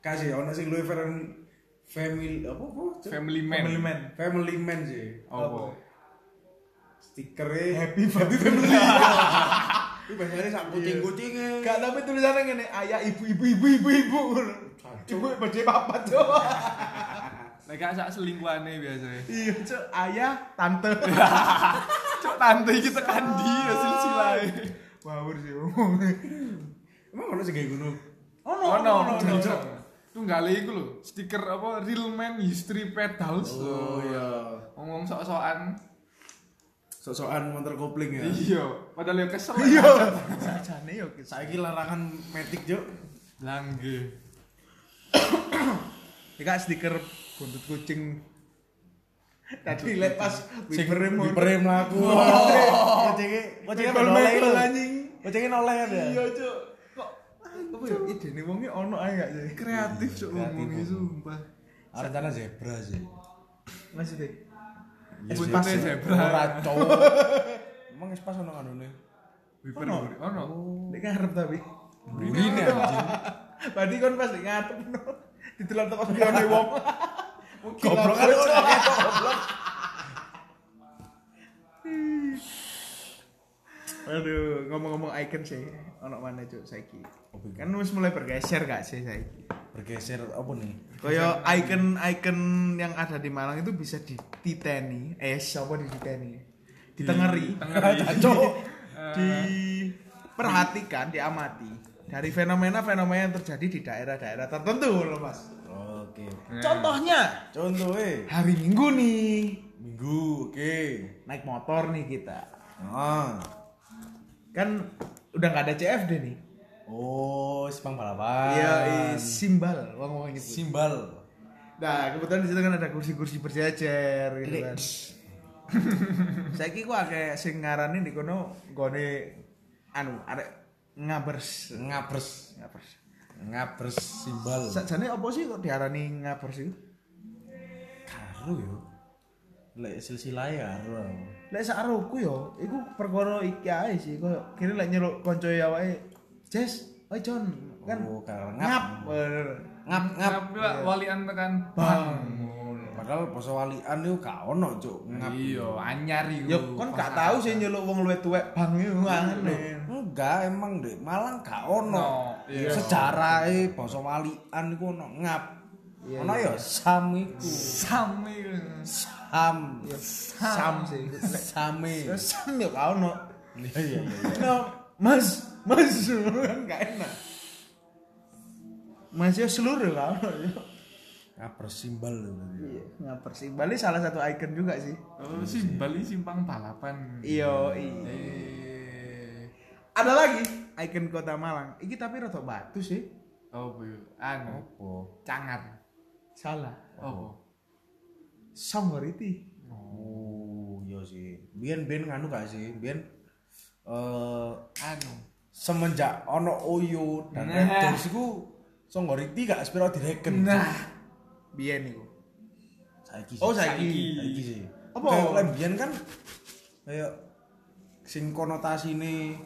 Speaker 3: Kasih ono sing luwih fam- family apa apa?
Speaker 4: family man
Speaker 2: Family man.
Speaker 3: Family man sih.
Speaker 4: apa e.
Speaker 3: Stikere
Speaker 2: Happy
Speaker 3: family.
Speaker 4: (laughs)
Speaker 3: Itu biasanya sak kucing-kucing.
Speaker 2: Gak tapi tulisannya ngene, ayah ibu ibu ibu ibu ibu. Ibu baca papat cok.
Speaker 4: Nek gak sak selingkuhane biasanya
Speaker 2: Iya cok, ayah (laughs) tante.
Speaker 4: Cok tante iki tekan ndi ya silsilahe.
Speaker 2: Wawur sih.
Speaker 3: Emang ono sing gawe ngono?
Speaker 2: Ono
Speaker 4: Oh
Speaker 2: ono
Speaker 4: no,
Speaker 2: ono.
Speaker 4: no,
Speaker 2: Cok.
Speaker 4: Tunggale iku lho, stiker apa Real Man History Pedals.
Speaker 3: Oh iya.
Speaker 4: Ngomong sok-sokan.
Speaker 3: Sok-sokan motor kopling ya.
Speaker 4: Iya, padahal ya kesel.
Speaker 2: Iya. Sajane yo ki.
Speaker 3: Saiki larangan metik, Juk.
Speaker 4: Langge.
Speaker 2: Iki gak stiker buntut kucing. Tadi lihat pas
Speaker 3: Sing Oh.
Speaker 2: wipernya mau-
Speaker 3: Wipernya mlaku. Kucinge, kucinge
Speaker 2: Mebel,
Speaker 3: noleh
Speaker 2: mebel,
Speaker 3: lho.
Speaker 2: anjing.
Speaker 3: Kucinge noleh kan ya.
Speaker 2: Iya cok. Kok apa ya? Ide nih wongnya ono aja gak sih?
Speaker 4: Kreatif Oh, cok ngomongnya
Speaker 3: Kreatif.
Speaker 4: sumpah.
Speaker 3: Artana zebra sih.
Speaker 2: Maksudnya?
Speaker 4: Buntutnya zebra.
Speaker 3: Ora (laughs) cowok. Emang es pas ono kanone.
Speaker 4: Wiper
Speaker 2: Ono?
Speaker 4: buri- ono.
Speaker 2: Ini ngarep (laughs) tapi.
Speaker 3: Burine anjing.
Speaker 2: Berarti kan pas di ngarep no. Ditelon toko spione wong. Mungkin
Speaker 3: Goblok kan
Speaker 2: lah,
Speaker 3: ora
Speaker 2: Cok.
Speaker 3: ketok.
Speaker 2: Aduh, ngomong-ngomong icon sih. Ono mana cuk saiki?
Speaker 3: Apa itu?
Speaker 2: Kan wis mulai bergeser gak sih saiki?
Speaker 3: Bergeser apa nih?
Speaker 2: Kaya icon-icon yang ada di Malang itu bisa dititeni. Eh, siapa dititeni? Ditengeri.
Speaker 4: Tengeri.
Speaker 2: (laughs)
Speaker 3: Cok.
Speaker 2: Diperhatikan, diamati dari fenomena-fenomena yang terjadi di daerah-daerah tertentu loh mas.
Speaker 3: Oke.
Speaker 2: Contohnya
Speaker 3: Contoh eh
Speaker 2: hari Minggu nih
Speaker 3: minggu, oke.
Speaker 2: naik motor nih kita.
Speaker 3: Ah.
Speaker 2: kan udah nggak ada CFD nih
Speaker 3: Oh, Simpang Balapan.
Speaker 2: iya i- simbal uang uang nyebut
Speaker 3: Simbal.
Speaker 2: nah kebetulan di situ kan ada kursi-kursi berjajar gitu kan (laughs) saya kira aku kayak sing ngarani di kono gone anu arek ngabers
Speaker 3: ngabres
Speaker 2: ngabers
Speaker 3: ngabres simbal
Speaker 2: sajane apa sih kok diarani ngabers itu
Speaker 3: karo yo lek silsilah ya karo
Speaker 2: lek sakroku yo iku perkara iki ae sih koyo kene lek nyeluk kanca awake Jess oi John kan
Speaker 3: Oh, karo ngap.
Speaker 2: ngap bener.
Speaker 3: ngap ngap
Speaker 4: Tapi lah walian tekan
Speaker 2: bang
Speaker 3: padahal basa walian yo gak ono cuk ngap
Speaker 4: Iya, anyar iku.
Speaker 2: yo Ya, kon gak tau sih nyeluk wong luwih tuwek bang yo aneh
Speaker 3: enggak emang dek Malang gak ono
Speaker 4: No, iya.
Speaker 3: sejarahe basa walian iku ono ngap ono yo sam iku
Speaker 4: Sam iku.
Speaker 3: sam e.
Speaker 2: sam sih
Speaker 3: same
Speaker 2: Ya, sam yo gak ono
Speaker 3: iya iya iya
Speaker 2: No, mas mas kan gak enak mas yo seluruh gak ono yo
Speaker 3: ngabres simbal lho berarti.
Speaker 2: ngapers Bali salah satu icon juga sih
Speaker 4: Oh, si Bali simpang balapan.
Speaker 2: iyo iya
Speaker 4: Eh.
Speaker 2: ada lagi ikon kota Malang iki tapi rotok batu sih
Speaker 4: Oh, bu. Anu,
Speaker 3: opo
Speaker 4: cangar.
Speaker 2: salah
Speaker 4: Oh.
Speaker 2: Somoriti
Speaker 3: oh iya sih biyen biyen nganu gak sih biyen eh
Speaker 4: Anu.
Speaker 3: semenjak ono Oyo dan
Speaker 4: Nah.
Speaker 3: Raptors iku Songgoriti gak spiro direken
Speaker 4: Nah,
Speaker 2: Ah, biyen niku
Speaker 3: saiki sih.
Speaker 2: oh saiki
Speaker 3: saiki sih
Speaker 2: Apa?
Speaker 3: kayak lek biyen kan kayak sing konotasine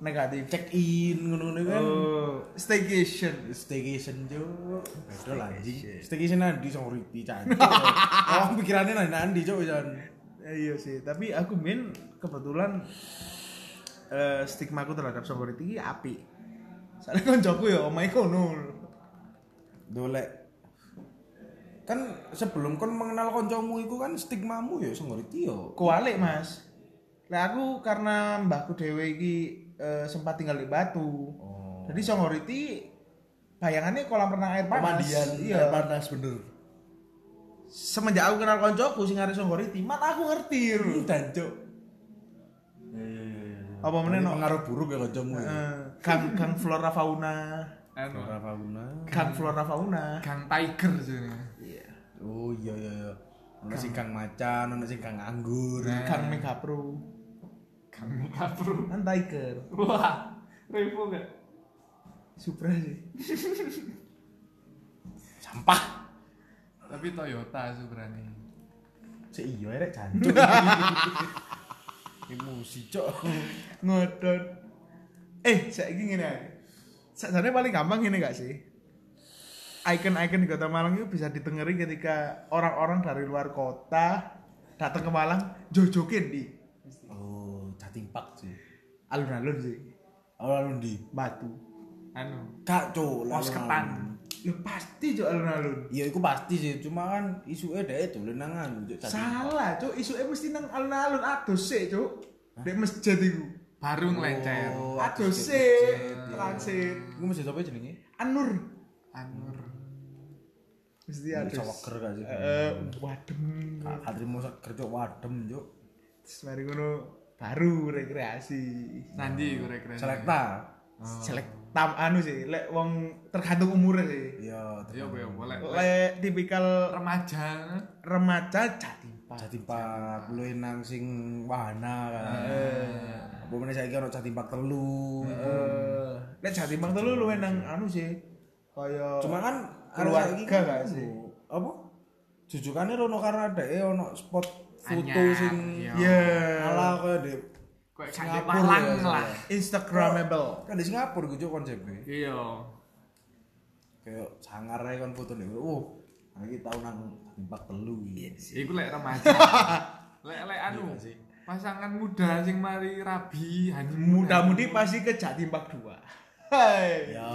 Speaker 2: negatif
Speaker 3: check in ngono-ngono iku kan
Speaker 2: oh staycation
Speaker 3: staycation jo bedo lah anjing staycation nang di Songgoriti
Speaker 2: (laughs)
Speaker 3: cantik orang pikirannya nang nandi cok jan
Speaker 2: Eh, iya sih tapi aku min kebetulan eh, stigma aku terhadap Somoriti iki api soalnya koncoku ya omahe kono
Speaker 3: dolek kan sebelum kon mengenal koncomu iku kan stigmamu ya Songgoriti yo
Speaker 2: kualik mas lah aku karena mbahku dewe iki eh, sempat tinggal di Batu
Speaker 3: Oh.
Speaker 2: jadi Somoriti bayangannya kolam renang air panas
Speaker 3: pemandian air
Speaker 2: iya
Speaker 3: panas bener
Speaker 2: semenjak aku kenal koncoku sing arek Somoriti man aku ngerti Ru.
Speaker 3: dan cok
Speaker 2: apa meneh no
Speaker 3: pengaruh buruk ya kancamu ya
Speaker 2: Eh, gang gang flora fauna
Speaker 4: anu.
Speaker 3: Berapa guna?
Speaker 2: gang flora fauna
Speaker 4: Gang Tiger sini.
Speaker 3: oh iya iya iya ono sing kang macan ono sing kang anggur
Speaker 2: gang mega pro
Speaker 4: Gang Mega Pro.
Speaker 2: kan tiger
Speaker 4: Wah, repo gak?
Speaker 2: supra sih
Speaker 3: sampah
Speaker 4: Tapi Toyota sebenarnya.
Speaker 3: si iya rek jancuk (laughs) emosi cok
Speaker 2: ngodot eh saya ingin ngene ae. sebenarnya paling gampang ini gak sih icon-icon di kota Malang itu bisa ditengeri ketika orang-orang dari luar kota datang ke Malang jojokin di
Speaker 3: oh cacing pak sih
Speaker 2: alun-alun sih
Speaker 3: alun di
Speaker 2: batu
Speaker 4: Anu.
Speaker 3: kak cok
Speaker 4: Pos
Speaker 3: lalu-
Speaker 4: ketan.
Speaker 2: ya pasti cok alun-alun
Speaker 3: iya itu pasti sih cuma kan isuke dhek dolen nang anu cok cacing
Speaker 2: salah cok isuke mesti nang alun-alun adus sih cok di masjid itu
Speaker 3: Oh,
Speaker 4: Baru ngelecer.
Speaker 2: adus sih transit
Speaker 3: iku mesti sapa jenenge
Speaker 2: anur
Speaker 4: Anur.
Speaker 2: mesti adus
Speaker 3: sawaker gak sih
Speaker 2: Eh, wadem
Speaker 3: Kak Katrimu kerja wadem cok
Speaker 2: Terus mari ngono baru rekreasi.
Speaker 3: Oh.
Speaker 4: Nanti gue rekreasi.
Speaker 3: selekta
Speaker 2: Selek tam anu sih, lek wong tergantung umure sih.
Speaker 3: iya
Speaker 4: Iya, boleh, boleh.
Speaker 3: Oh.
Speaker 2: Lek tipikal
Speaker 4: Remaja.
Speaker 2: remaja jadi
Speaker 3: Jatimpak lu nang sing wahana kan. Apa meneh saiki ono Jatimpak telu.
Speaker 2: eh lek jadi mang telu luwe nang anu sih. Kaya
Speaker 3: Cuma kan
Speaker 2: Keluarga
Speaker 3: arek saiki kan
Speaker 2: gak sih?
Speaker 3: Apa? Jujukane rono karena dhek ono spot foto
Speaker 4: Anyar,
Speaker 3: sing
Speaker 4: iya.
Speaker 2: ya
Speaker 3: ala koyo di
Speaker 4: Kayak
Speaker 3: Singapura
Speaker 4: sakit malang
Speaker 3: ya,
Speaker 4: lah.
Speaker 2: instagramable.
Speaker 3: kan di Singapura gue juga konsepnya
Speaker 4: Iya.
Speaker 3: kayak sangar aja kan foto nih oh lagi tahu nang Jatimpak telu gitu
Speaker 4: Iku lek
Speaker 3: (laughs)
Speaker 4: remaja. lek lek anu. Pasangan muda sing mari rabi honeymoon.
Speaker 2: Mudah-mudi pasti ke Jatimbak 2. Hai.
Speaker 3: ya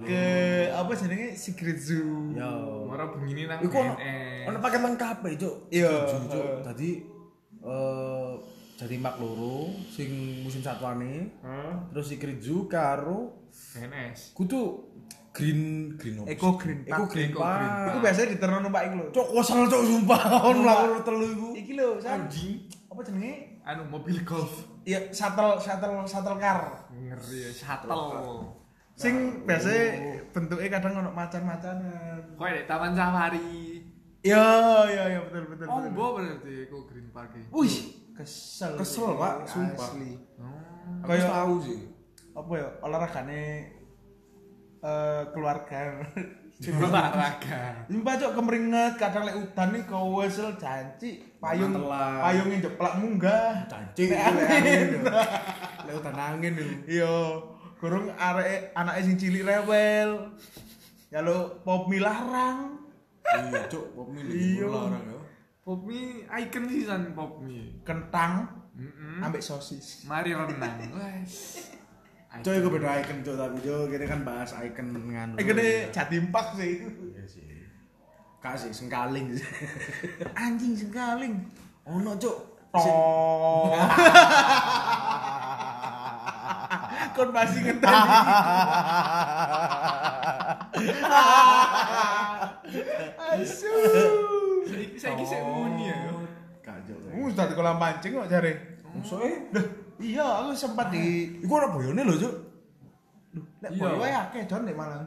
Speaker 2: Ke apa jenenge Secret Zoo.
Speaker 3: ya
Speaker 4: Ora bengine nang
Speaker 3: Iku ono
Speaker 4: BNN.
Speaker 3: ono paket lengkap ya, Cuk.
Speaker 2: Iya.
Speaker 3: Setuju, Cuk. Tadi eh jadi mak loro sing musim satuane, terus si Kritzu karo
Speaker 4: BNS.
Speaker 3: kudu green green apa sih?
Speaker 2: Eco Green
Speaker 3: Eco
Speaker 2: Park.
Speaker 3: green
Speaker 4: Eco
Speaker 3: park.
Speaker 4: Green
Speaker 2: Iku biasanya diterno numpak iku lho.
Speaker 3: Cuk kosel cuk sumpah on lawur telu iku.
Speaker 2: Iki lho, Sam. Apa jenenge?
Speaker 4: Anu mobil golf.
Speaker 2: ya shuttle shuttle shuttle car
Speaker 4: Ngeri ya, shuttle.
Speaker 2: sing biasanya bentuknya kadang ono macan-macan
Speaker 4: Kok ada taman safari.
Speaker 2: ya ya ya betul betul betul
Speaker 4: Ombo Oh, berarti kok Green Park e. ini.
Speaker 2: wih kesel
Speaker 3: Kesel, Pak, sumpah.
Speaker 2: asli
Speaker 3: Aku
Speaker 4: Oh.
Speaker 2: Kayak-
Speaker 3: tahu sih.
Speaker 2: apa ya olahragane eh keluarga (laughs)
Speaker 4: olahraga
Speaker 2: Impa cok kemeringet kadang lek udan nih kau wesel janji payung payung yang jeplak munggah
Speaker 3: Janji,
Speaker 2: Lek
Speaker 3: lek
Speaker 2: angin.
Speaker 3: Lek utan angin itu.
Speaker 2: (laughs) Iya, kurung arek anake sing cilik rewel. Ya lo pop milarang.
Speaker 3: Iya, cuk, kok milih orang ya.
Speaker 4: Popmi icon sih san Popmi
Speaker 2: Kentang
Speaker 4: Mm-mm.
Speaker 2: ambek sosis.
Speaker 4: mari renang wes
Speaker 3: Cuk, iku beda icon cuk tapi cuk, kene kan bahas icon nganu.
Speaker 2: Eh gede jatimpak sih.
Speaker 3: Iya sih. Kak sih sengkaling sih.
Speaker 2: Anjing sengkaling.
Speaker 3: Ono cuk.
Speaker 2: Toh. (laughs) Kon masih ngetah. Asu.
Speaker 4: saya kisah muni ya yo.
Speaker 3: Kak cuk.
Speaker 2: Mu sudah di kolam pancing kok jare.
Speaker 3: Musuhe
Speaker 2: Duh, iya aku sempat di
Speaker 3: iku ora boyone lho cuk.
Speaker 2: Lek
Speaker 4: Iya.
Speaker 2: boyo ya akeh don nek Malang.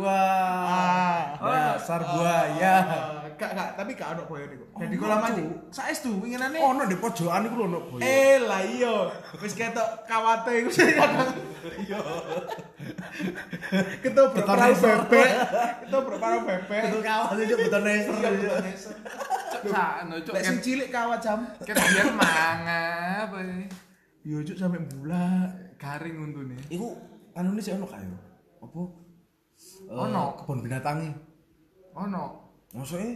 Speaker 3: Wah.
Speaker 2: Ah.
Speaker 3: Dasar buaya.
Speaker 2: Kak, kak, Eh, tapi kak ono boyo niku. Jadi kolam Oh, mandi. Saestu winginane.
Speaker 3: Ono di pojokan iku lho ono boyo.
Speaker 2: Eh lah iya. Wis ketok kawate iku (laughs) sing kadang. Iya. Ketobrak
Speaker 3: Beton
Speaker 2: perahu
Speaker 3: laser.
Speaker 2: bebek. Ketobrak perahu bebek.
Speaker 3: Betul kawas cuk, betul neser.
Speaker 2: Iya, beton laser.
Speaker 4: Cakno cuk
Speaker 2: Lek sing
Speaker 4: ket
Speaker 2: cilik kawat jam.
Speaker 4: ket biar manga apa ini?
Speaker 2: Yo juk sampe bulak.
Speaker 4: garing untune.
Speaker 3: Iku anu ini sih ono kayu. Apa? Eh,
Speaker 4: Ono.
Speaker 3: kebun binatang e.
Speaker 4: Ono
Speaker 3: Maksudnya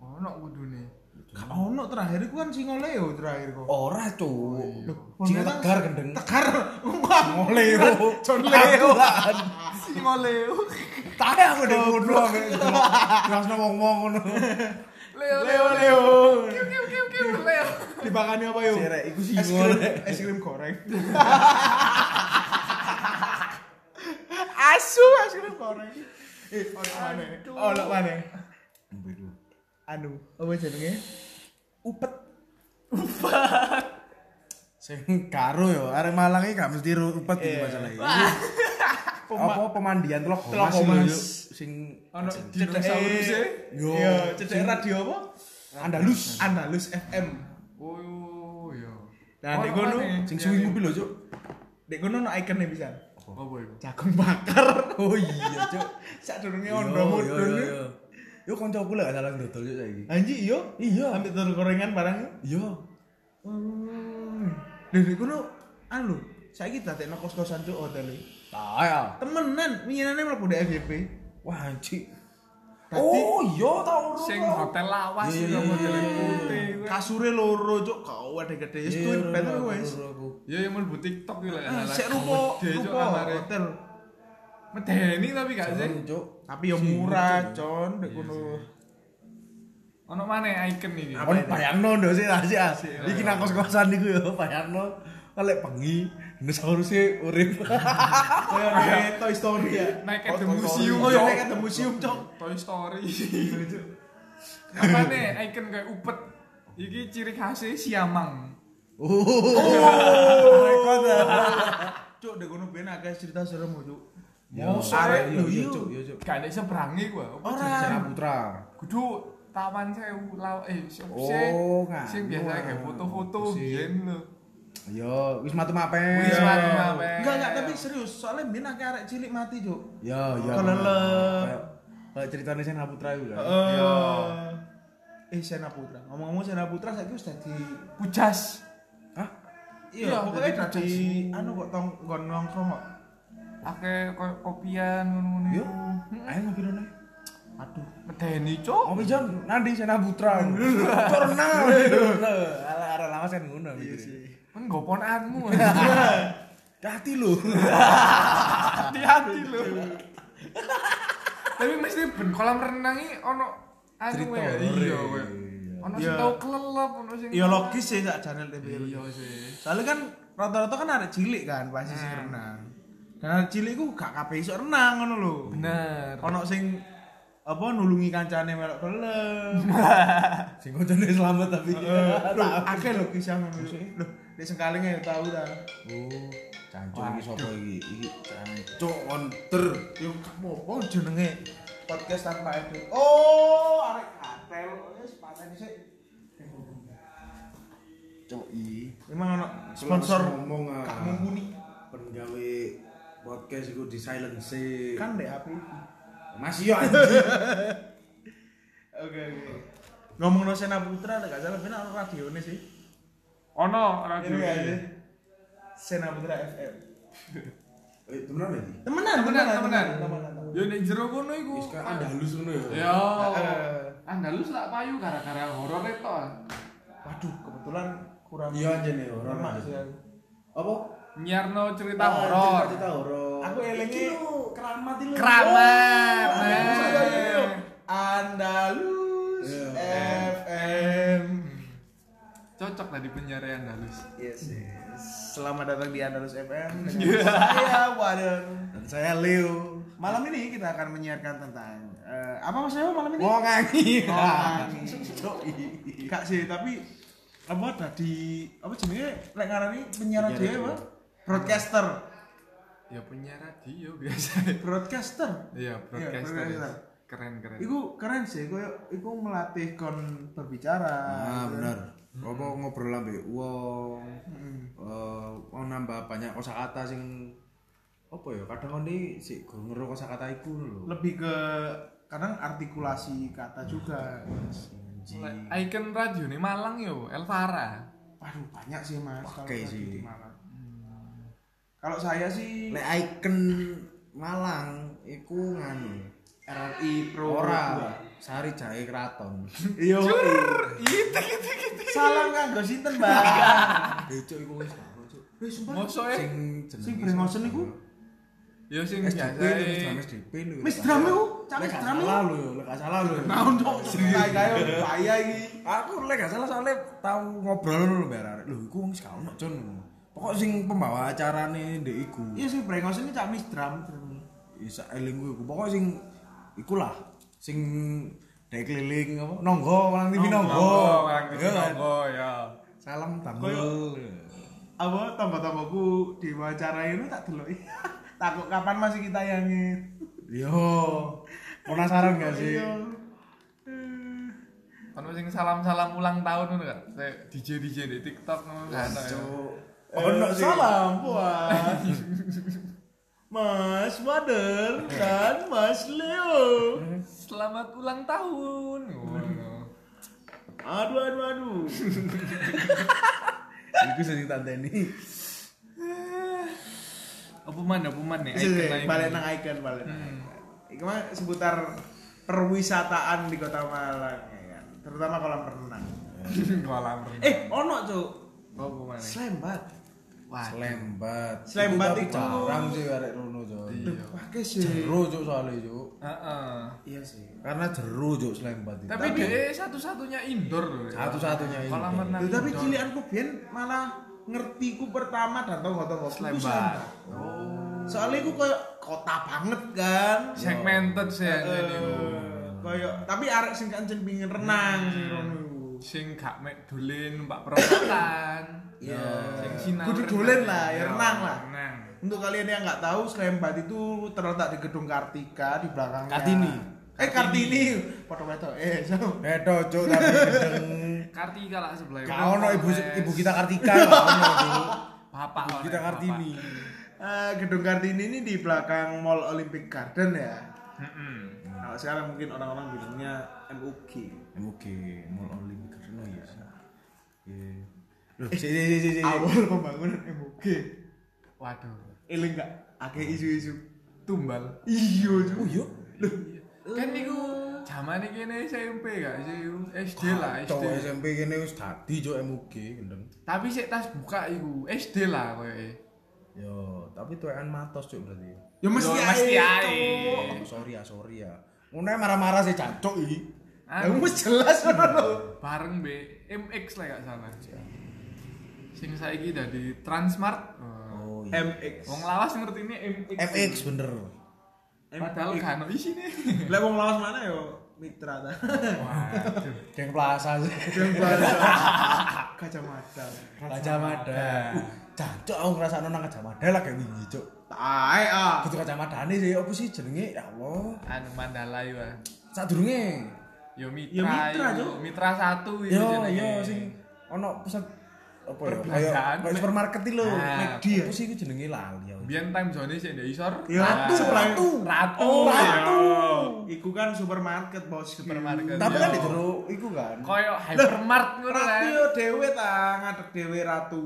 Speaker 4: ono kudune.
Speaker 2: Gak ono terakhir iku kan sing oleh yo terakhir kok.
Speaker 3: ora cuk. Sing
Speaker 2: Binatang
Speaker 3: tegar gendeng.
Speaker 2: Oh. Tegar. (laughs)
Speaker 3: Sing Leo.
Speaker 2: John Leo.
Speaker 3: Aturan.
Speaker 4: Si Leo.
Speaker 3: Tae aku deh kudu ame. Terus ngomong
Speaker 2: (laughs)
Speaker 3: ngono.
Speaker 4: Leo
Speaker 2: Leo Leo.
Speaker 4: Kiu kiu kiu kiu Leo.
Speaker 2: Dibakani apa yuk?
Speaker 3: Sirek, iku sih
Speaker 2: es krim,
Speaker 3: ngorek.
Speaker 2: es krim goreng. Asu es krim goreng. Eh, ono mana? Ono mana? Anu, apa jenenge? Upet.
Speaker 3: Sing karo yo, arek Malang iki gak mesti rupet iki
Speaker 2: Iya.
Speaker 3: masalah iki.
Speaker 2: Eh.
Speaker 3: (laughs)
Speaker 2: Pema-
Speaker 3: Apa pemandian telok
Speaker 2: Telok
Speaker 3: homas lho,
Speaker 2: Homas.
Speaker 3: yuk. sing
Speaker 4: Ono
Speaker 2: Cedek
Speaker 4: dinosaurus e.
Speaker 3: Yo.
Speaker 2: Yo, cedek radio apa?
Speaker 3: Andalus.
Speaker 2: Andalus FM.
Speaker 4: Oh yo.
Speaker 2: Nah, di
Speaker 4: Ono
Speaker 2: kono,
Speaker 4: maneh.
Speaker 3: Sing suwi kuwi lho, Cuk.
Speaker 2: Dek kono ono ikonnya bisa.
Speaker 4: Apa iku?
Speaker 2: Jagung bakar. (laughs)
Speaker 3: Oh iya, Cuk.
Speaker 2: Sak durunge
Speaker 3: Yo,
Speaker 2: ondo
Speaker 3: yo,
Speaker 2: mudun.
Speaker 3: yo, yo. Yo kancaku lek gak salah dodol Cuk saiki.
Speaker 2: Anji yo.
Speaker 3: Iya.
Speaker 2: Ambil telur gorengan barang yuk.
Speaker 3: Yo.
Speaker 2: Hmm. Dan iku no, anu, saya kita tak kos kosan tuh hotel e. ini.
Speaker 3: Tae. ah.
Speaker 2: Temenan, minyanane malah udah FYP.
Speaker 3: Wah, anjing.
Speaker 2: Tadi-
Speaker 3: Oh iya, tau ora.
Speaker 4: Sing hotel lawas
Speaker 3: Iya,
Speaker 4: yo
Speaker 3: iya,
Speaker 4: model
Speaker 3: iya, iya.
Speaker 4: putih.
Speaker 2: Kasure loro cok, kau ada gede
Speaker 3: Iya,
Speaker 2: itu
Speaker 3: ora,
Speaker 2: bener
Speaker 3: ora,
Speaker 2: wes.
Speaker 3: ora, aku.
Speaker 4: Yo yo mlebu TikTok iki lek.
Speaker 2: Ah, Sek rupo,
Speaker 4: Gede, Cuk,
Speaker 2: rupo
Speaker 4: kamare.
Speaker 2: hotel.
Speaker 4: Medeni tapi gak sih.
Speaker 3: Jangan, Cuk.
Speaker 2: Tapi ya murah, con, dek kono.
Speaker 4: Ono maneh icon iki.
Speaker 3: Kon bayangno ndo sih lah sih. ah. Iki nang kos-kosan niku yo bayangno lek bengi dinosaurus e (laughs) urip.
Speaker 2: Kayak kayak Toy Story ya.
Speaker 4: Naik
Speaker 2: Oh,
Speaker 4: at the
Speaker 2: Toy Story.
Speaker 4: museum,
Speaker 2: Oh, ya,
Speaker 4: Cok.
Speaker 2: naik at the museum,
Speaker 4: (laughs)
Speaker 2: cok.
Speaker 4: Toy Story. Apa nih icon kayak upet? Iki ciri khasnya siamang.
Speaker 3: Oh. Rekod.
Speaker 2: Cok, dek kono ben akeh cerita serem cok.
Speaker 3: Mosok
Speaker 2: arek
Speaker 3: yo yo
Speaker 2: lho, iya.
Speaker 3: cuk yo cuk.
Speaker 4: Gak ada seberangi gua.
Speaker 2: Ora.
Speaker 4: Apa jenenge?
Speaker 3: Sarah Putra.
Speaker 4: Kudu tawan sewu law eh siapa sih?
Speaker 3: Oh, nggak.
Speaker 4: Sing biasa kayak foto-foto biyen lho.
Speaker 3: Yo wis matu
Speaker 4: Wis
Speaker 3: mapen.
Speaker 4: mari mape.
Speaker 2: Enggak, enggak, tapi serius, soalnya ben akeh arek cilik mati, cok.
Speaker 3: Yo yo.
Speaker 2: Kelelep.
Speaker 3: Kayak- Kayak ceritanya Sarah Putra itu kan.
Speaker 2: Eh Sena Putra. Ngomong-ngomong Sena Putra saiki wis dadi
Speaker 4: pujas.
Speaker 3: Hah?
Speaker 4: Iya,
Speaker 2: pokoknya
Speaker 4: dadi
Speaker 2: dadi anu kok tong nggon nongkrong kok.
Speaker 4: Ake koyo kopian ngono-ngono.
Speaker 3: Yo.
Speaker 4: Yo.
Speaker 3: Ayo Oh, ngopi dulu. nih.
Speaker 2: Aduh.
Speaker 4: Medeni, Cuk.
Speaker 3: Ngopi jam nanti Sarah Putra. Pernah. (laughs) Ala ala lama sen ngono. Iya
Speaker 4: Men (laughs) goponanmu.
Speaker 3: Hati (laughs) lu.
Speaker 4: Hati-hati lho. Tapi mesti ben kolam renang iki ono anu
Speaker 3: Cerita.
Speaker 4: ya. Iya, kowe.
Speaker 3: Iya.
Speaker 4: Ono sing
Speaker 2: Iya.
Speaker 4: tau kelelep, ono sing
Speaker 2: Ya logis sih sak channel TV.
Speaker 4: Iya sih.
Speaker 2: Soalnya kan rata-rata kan arek cilik kan pasti sing renang. Dan arek cilik ku gak kabeh iso renang ngono lho.
Speaker 4: Bener.
Speaker 2: Ono sing apa nulungi kancane melok (laughs) kelem.
Speaker 3: Sing koncone selamat tapi.
Speaker 2: Lho, akeh lho kisah ngono. Lho, nek sengkalinge ya tau ta.
Speaker 3: Oh, cancuk iki sapa iki? Iki cancuk onter.
Speaker 2: Yo gak apa-apa jenenge podcast tanpa edit. Oh, arek katel wis paten sik.
Speaker 3: Coki.
Speaker 2: Emang ono sponsor
Speaker 3: ngomong ah,
Speaker 2: gak mumpuni
Speaker 3: penggawe podcast iku di silence.
Speaker 2: kan deh aku.
Speaker 3: Masih yo anjing.
Speaker 2: Oke oke. Ngomong no Sena Putra gak salah benar ono radione sih.
Speaker 4: Ono radio.
Speaker 2: Ini gak sih? Sena Putra FM.
Speaker 3: Eh, temenan iki.
Speaker 2: Temenan,
Speaker 4: Temenan, temenan.
Speaker 2: temenan, temenan.
Speaker 4: Yo nek jero kono iku.
Speaker 3: Wis kayak Andalus ngono ya.
Speaker 4: Yo.
Speaker 2: Eh.
Speaker 4: Andalus tak payu gara-gara horor e itu.
Speaker 2: Waduh, kebetulan kurang.
Speaker 3: Iya anjene horor.
Speaker 2: Lemak sih
Speaker 3: anjing.
Speaker 2: aku.
Speaker 3: Apa?
Speaker 4: Nyiarno cerita
Speaker 3: Ah,
Speaker 4: horor.
Speaker 3: Cerita horor.
Speaker 2: Aku elenge-
Speaker 3: Iki lho, keramat iki lho.
Speaker 4: Keramat,
Speaker 3: Oh,
Speaker 4: men.
Speaker 3: Andalus, ayo, ayo, ayo.
Speaker 2: Andalus
Speaker 3: Iya.
Speaker 2: FM.
Speaker 4: Cocok tadi penyiar Andalus.
Speaker 2: Yes, yes. Selamat datang di Andalus FM dengan saya Wadon dan saya Leo. Malam ini kita akan menyiarkan tentang eh, apa mas Leo malam ini?
Speaker 3: Wong angi. Ah,
Speaker 2: Wongangi. Kak sih, tapi apa tadi apa jenenge lek ngarani penyiaran
Speaker 3: Penyiar
Speaker 2: dhewe
Speaker 3: radio.
Speaker 2: apa? Broadcaster.
Speaker 4: Ya penyiar radio biasa.
Speaker 2: Broadcaster.
Speaker 4: Iya, broadcaster.
Speaker 2: broadcaster.
Speaker 4: Keren-keren.
Speaker 2: Iku keren sih, koyo iku melatih kon berbicara.
Speaker 3: Ah, benar. Apa ngobrol ambe wong. Eh, mau nambah banyak kosakata sing apa ya? Kadang ngene sik go ngero kosakata iku lho.
Speaker 2: Lebih ke kadang artikulasi kata juga.
Speaker 4: Le- Icon radio nih Malang yo, Elvara.
Speaker 2: Waduh, banyak sih Mas. kalau
Speaker 3: Pakai
Speaker 2: tadi
Speaker 3: sih.
Speaker 2: di Malang. Kalau saya sih
Speaker 3: Nek icon Malang iku nganu.
Speaker 2: RRI Pro
Speaker 3: Ora sari jahe
Speaker 2: (laughs)
Speaker 3: kraton.
Speaker 2: 2. Iya. Salam kanggo sinten,
Speaker 3: (laughs)
Speaker 2: Mbak?
Speaker 3: Becuk iku wis karo cuk.
Speaker 2: Wih, sumpah.
Speaker 4: Mosok e.
Speaker 3: Sing
Speaker 2: Eh, Sing brengosen iku?
Speaker 4: Yo sing
Speaker 3: SDP
Speaker 4: biasa.
Speaker 3: lho,
Speaker 4: e.
Speaker 3: Mas SDP lho.
Speaker 2: Mis drum iku, cak
Speaker 3: Lek
Speaker 2: mis
Speaker 3: gak
Speaker 2: drum iku.
Speaker 3: salah lho, yo, lek gak salah lho.
Speaker 2: Naon cok, kayak kayak bahaya iki.
Speaker 3: Aku lek gak salah soalnya tau ngobrol lho mbak Arek. Lho iku wong sing gak ono Jon. Pokok sing pembawa acarane ndek iku.
Speaker 2: Iya sih brengosen iki cak mis drum.
Speaker 3: Isa eling kuwi iku. Pokok sing ikulah sing dek keliling apa nonggo malang TV nonggo.
Speaker 4: Malang TV
Speaker 3: Iya kan?
Speaker 4: Nonggo ya.
Speaker 3: Salam tambel.
Speaker 2: Apa tonggo-tonggoku diwawancarai itu (laughs) tak deloki. Takut kapan masih kita yangin.
Speaker 3: Yo. Penasaran gak sih?
Speaker 2: Iya.
Speaker 4: Kan sing salam-salam ulang tahun ngono kan. DJ DJ di TikTok ngono kan.
Speaker 3: Oh, no, sih.
Speaker 2: Eh, Salam puas. (laughs) Mas Wader dan Mas Leo.
Speaker 4: Selamat ulang tahun. Ngono.
Speaker 2: Aduh aduh aduh.
Speaker 3: Iku sing tanteni.
Speaker 4: Apa mana apa mana nih? Icon,
Speaker 2: Iya Sih,
Speaker 4: icon.
Speaker 2: Balik (laughs) nang icon balik nang icon. Iku mah seputar perwisataan di Kota Malang ya kan. Terutama kolam renang.
Speaker 4: Kolam renang.
Speaker 2: Eh, ono cuk.
Speaker 4: Oh, apa mana?
Speaker 2: Slembat.
Speaker 4: Wah.
Speaker 3: Slembat.
Speaker 2: Slembat
Speaker 3: Iku tapi
Speaker 2: iku.
Speaker 3: jarang sih arek rono jo.
Speaker 4: Iya.
Speaker 2: Pakai sih.
Speaker 3: Jeru cuk soalnya cuk.
Speaker 4: Heeh.
Speaker 2: Iya sih.
Speaker 3: Karena jeru cuk slembat itu.
Speaker 4: Tapi dia satu-satunya indoor loh. ya.
Speaker 3: Satu-satunya indoor.
Speaker 4: Kolam renang.
Speaker 2: Duh, tapi
Speaker 4: indoor.
Speaker 2: cilianku biyen malah ngertiku pertama dan tau tau
Speaker 4: Slembat. Oh.
Speaker 2: Soalnya aku koyo kota banget kan.
Speaker 4: segmented sih ya jadi
Speaker 2: Eh, Koyo tapi arek sing kancen pingin renang sing rono iku.
Speaker 4: sing gak mek dolen mbak perosotan
Speaker 2: Iya.
Speaker 4: sing sinau
Speaker 2: Kudu
Speaker 4: renang.
Speaker 2: dolen lah, ya
Speaker 4: Iya,
Speaker 2: renang lah.
Speaker 4: renang
Speaker 2: Untuk kalian yang nggak tahu, Slembat itu terletak di gedung Kartika di belakangnya.
Speaker 3: Kartini.
Speaker 2: Eh Kartini, foto foto. Eh, so.
Speaker 3: Bedo cuk tapi gedeng.
Speaker 4: Kartika lah sebelah
Speaker 3: Gak ono ibu ibu kita Kartika gak ono cuk.
Speaker 4: bapak
Speaker 3: Ibu
Speaker 4: ono, ya,
Speaker 3: kita
Speaker 4: bapak.
Speaker 3: Kartini.
Speaker 2: Eh, gedung Kartini ini di belakang Mall Olympic Garden ya.
Speaker 4: Mm-mm.
Speaker 2: Kalau sekarang mungkin orang-orang bilangnya MUG.
Speaker 3: Oke, mall only karena ya. Iya. Loh, sih sih sih sih.
Speaker 2: Awal pembangunan MUG.
Speaker 4: waduh
Speaker 2: Eling nggak? Akeh isu-isu.
Speaker 4: tumbal
Speaker 2: Iya, oh, iya.
Speaker 4: kan niku zaman iki ini SMP gak sih SD lah
Speaker 3: Cuk
Speaker 4: SD
Speaker 3: SMP kene wis dadi cuk MUG gendeng.
Speaker 4: tapi sik tas buka iku SD lah e. koyoke
Speaker 3: Yo, tapi tuwekan matos cuk berarti.
Speaker 2: Ya mesti
Speaker 4: Yo,
Speaker 2: ae.
Speaker 4: mesti ae.
Speaker 2: Cok.
Speaker 3: Oh, sorry ya, sorry ya. Ngono ae marah-marah sih jancuk iki.
Speaker 2: Ya
Speaker 4: Anu,
Speaker 2: wis (laughs) jelas ngono lho.
Speaker 4: bareng B MX lah gak salah sing saiki dari Transmart Oh.
Speaker 3: Oh
Speaker 2: MX.
Speaker 4: Wong lawas ngerti ini MX
Speaker 3: FX bener.
Speaker 4: Padahal kan isi nih.
Speaker 2: Lah wong lawas mana yo mitra (laughs) ta.
Speaker 4: Waduh.
Speaker 3: Geng Plaza sih.
Speaker 2: Kacamata.
Speaker 3: Kacamata. Uh, Jancuk aku ngrasakno nang Kacamata lah kayak wingi, Cuk.
Speaker 2: Tae ah.
Speaker 3: Kudu kacamatane sih opo sih jenenge? Ya Allah.
Speaker 4: Anu Mandala yo. ah.
Speaker 3: Sadurunge.
Speaker 4: Yo Mitra.
Speaker 2: Yo Mitra,
Speaker 4: yo.
Speaker 2: Cuk.
Speaker 4: Mitra satu
Speaker 3: Yo yo sing ono pusat apa ya?
Speaker 4: Perbelanjaan.
Speaker 3: Kayak supermarket iki lho,
Speaker 4: Nah,
Speaker 3: McD ya. Apa sih iku jenenge lali ya.
Speaker 4: Biar time zone sih di isor.
Speaker 2: Ya,
Speaker 4: Nah,
Speaker 2: ratu, ratu.
Speaker 4: ratu,
Speaker 2: Oh,
Speaker 4: ya.
Speaker 2: ratu. Iku kan supermarket, Bos.
Speaker 4: Supermarket.
Speaker 3: Tapi
Speaker 4: Iya.
Speaker 3: kan di jero iku kan.
Speaker 4: Koyo hypermart
Speaker 2: Hmm.
Speaker 4: ngono lah.
Speaker 2: Ratu yo dhewe ta, ngadeg dhewe ratu.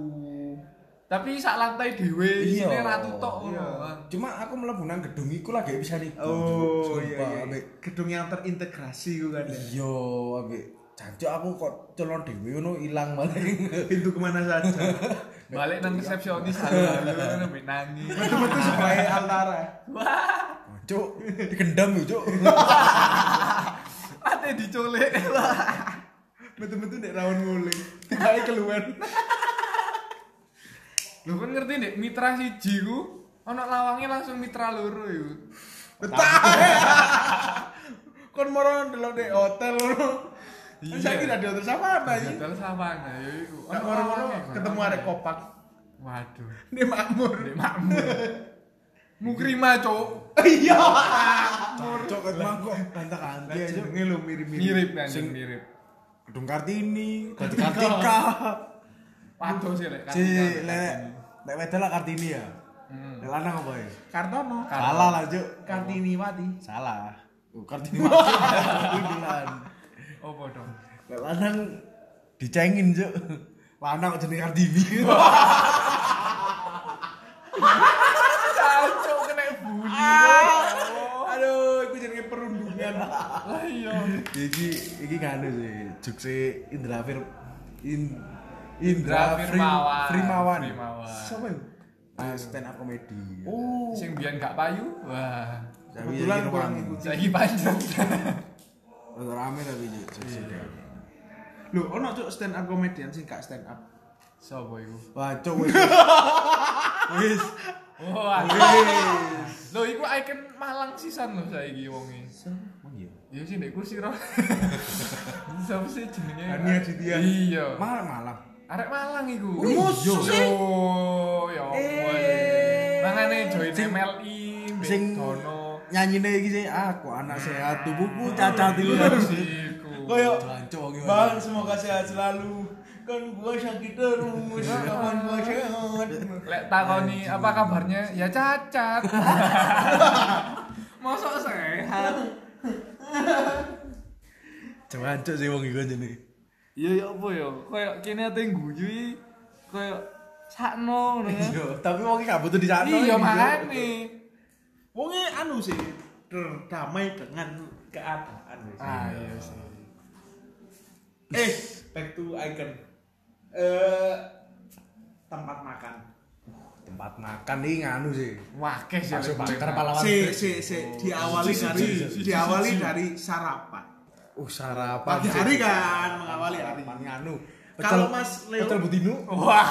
Speaker 4: Tapi sak lantai dhewe
Speaker 3: Iya.
Speaker 4: isine ratu tok ngono.
Speaker 3: Cuma aku mlebu nang gedung iku lagi bisa nih.
Speaker 2: Oh, iya, iya. Gedung yang terintegrasi iku kan. ya.
Speaker 3: Iya, ambek jancuk aku kok celon dhewe ngono ilang malah.
Speaker 2: Pintu kemana (laughs) saja.
Speaker 4: Balik nang resepsionis halo-halo ngono mbek nangis.
Speaker 2: (laughs) Betul-betul sebagai antara.
Speaker 4: Wah,
Speaker 3: (laughs) Cuk, digendam yo, Cuk.
Speaker 4: ate diculik.
Speaker 2: Betul-betul nek rawon (laughs) nguling. Tiba-tiba keluar.
Speaker 4: Lho kan ngerti nek mitra siji ku ana lawange langsung mitra loro iku.
Speaker 2: Betah. Kon moro ndelok di hotel ngono.
Speaker 4: Iya.
Speaker 2: Saya kira di hotel sama apa ini?
Speaker 4: Jadwal savana ya iku.
Speaker 2: Kan moro-moro
Speaker 4: lawange,
Speaker 2: ketemu
Speaker 4: lawange.
Speaker 2: arek kopak.
Speaker 4: Waduh,
Speaker 2: Di makmur.
Speaker 4: Dek makmur. Mukrima, Cuk.
Speaker 2: Iya.
Speaker 3: Cuk, kan mangkok kantak-kanti aja.
Speaker 2: Jenenge lo Iya, mirip-mirip.
Speaker 4: Mirip kan,
Speaker 3: Sing-
Speaker 4: mirip.
Speaker 3: Gedung Kartini, Gedung Kartika.
Speaker 4: Waduh sih lek.
Speaker 3: Si
Speaker 4: Kartika.
Speaker 3: lek lek wedal lah Kartini ya.
Speaker 4: Hmm.
Speaker 3: Lek lanang apa ya?
Speaker 2: Kartono.
Speaker 3: Salah lah, Cuk.
Speaker 2: Kartiniwati.
Speaker 3: Salah. Oh, Kartini masuk. Bulan.
Speaker 4: Opo dong?
Speaker 3: (laughs) Lek lanang dicengin, Cuk. Lanang kok jenenge Kartini.
Speaker 4: Cacok kena bully.
Speaker 2: Aduh, iku jenenge perundungan.
Speaker 4: Lah iya.
Speaker 3: Iki iki kan sih, jukse Indra Fir In,
Speaker 4: Indra
Speaker 3: Indra Fri-
Speaker 4: Firmawan.
Speaker 3: Firmawan.
Speaker 4: Firmawan.
Speaker 3: Siapa ya? Ah, stand up comedy.
Speaker 2: Oh.
Speaker 4: Sing biyen gak payu. Wah.
Speaker 2: Kebetulan kurang
Speaker 3: ikut.
Speaker 2: ngikuti.
Speaker 4: Saiki panjang.
Speaker 3: rame tapi Cuk, jukse.
Speaker 2: Lho, ono cuk stand up comedian sing gak stand up.
Speaker 4: (laughs) Sopo iku?
Speaker 3: Wah, Cuk, wis. Wis.
Speaker 4: Wah. Oh, ah. Lho iku icon Malang sisan lho saiki wonge.
Speaker 3: Emang iya?
Speaker 4: Iya sih nek kursi (laughs) roh. Sopo sih jenenge?
Speaker 2: Hani Aditya.
Speaker 4: Iya.
Speaker 3: Malah malah.
Speaker 4: Arek Malang iku.
Speaker 3: Wih, iya.
Speaker 4: Oh, ya ampun. Mangane join MLI, Mbak
Speaker 3: sing-
Speaker 4: Dono.
Speaker 3: Nyanyine iki sih aku anak sehat tubuhku cacat itu.
Speaker 4: Siku.
Speaker 2: Koyo
Speaker 3: Jancuk iki.
Speaker 2: Bang, semoga sehat selalu. Kan gua sakit terus, kapan gua sehat?
Speaker 4: Lek takoni apa kabarnya? Ya cacat. Mosok sehat.
Speaker 3: Jancuk sih wong iku jenenge.
Speaker 4: (laughs) Iya ya apa ya? Kayak kene ate guyu iki kayak sakno ngono ya.
Speaker 3: Yo, tapi wong iki gak butuh dicatno.
Speaker 4: Iya
Speaker 3: iki, Cuk.
Speaker 4: makane.
Speaker 2: Wonge anu sih terdamai dengan keadaan. wis.
Speaker 4: Ah iya sih.
Speaker 2: Eh, back to icon. Eh tempat makan.
Speaker 3: Tempat makan iki nganu sih.
Speaker 4: Wakes ya.
Speaker 3: Bakso
Speaker 4: Lek, paling
Speaker 3: bakar
Speaker 4: enak.
Speaker 3: pahlawan.
Speaker 2: Si, si, si,
Speaker 3: Oh.
Speaker 2: diawali
Speaker 3: Si, si,
Speaker 2: dari
Speaker 3: si, si, si,
Speaker 2: diawali dari sarapan.
Speaker 3: Uh, sarapan. Cuk.
Speaker 2: Pagi hari kan mengawali hari.
Speaker 3: Sarapan nganu. Pecel-
Speaker 2: Kalau Mas Leo-
Speaker 3: Pecel butinu.
Speaker 4: (laughs) Wah.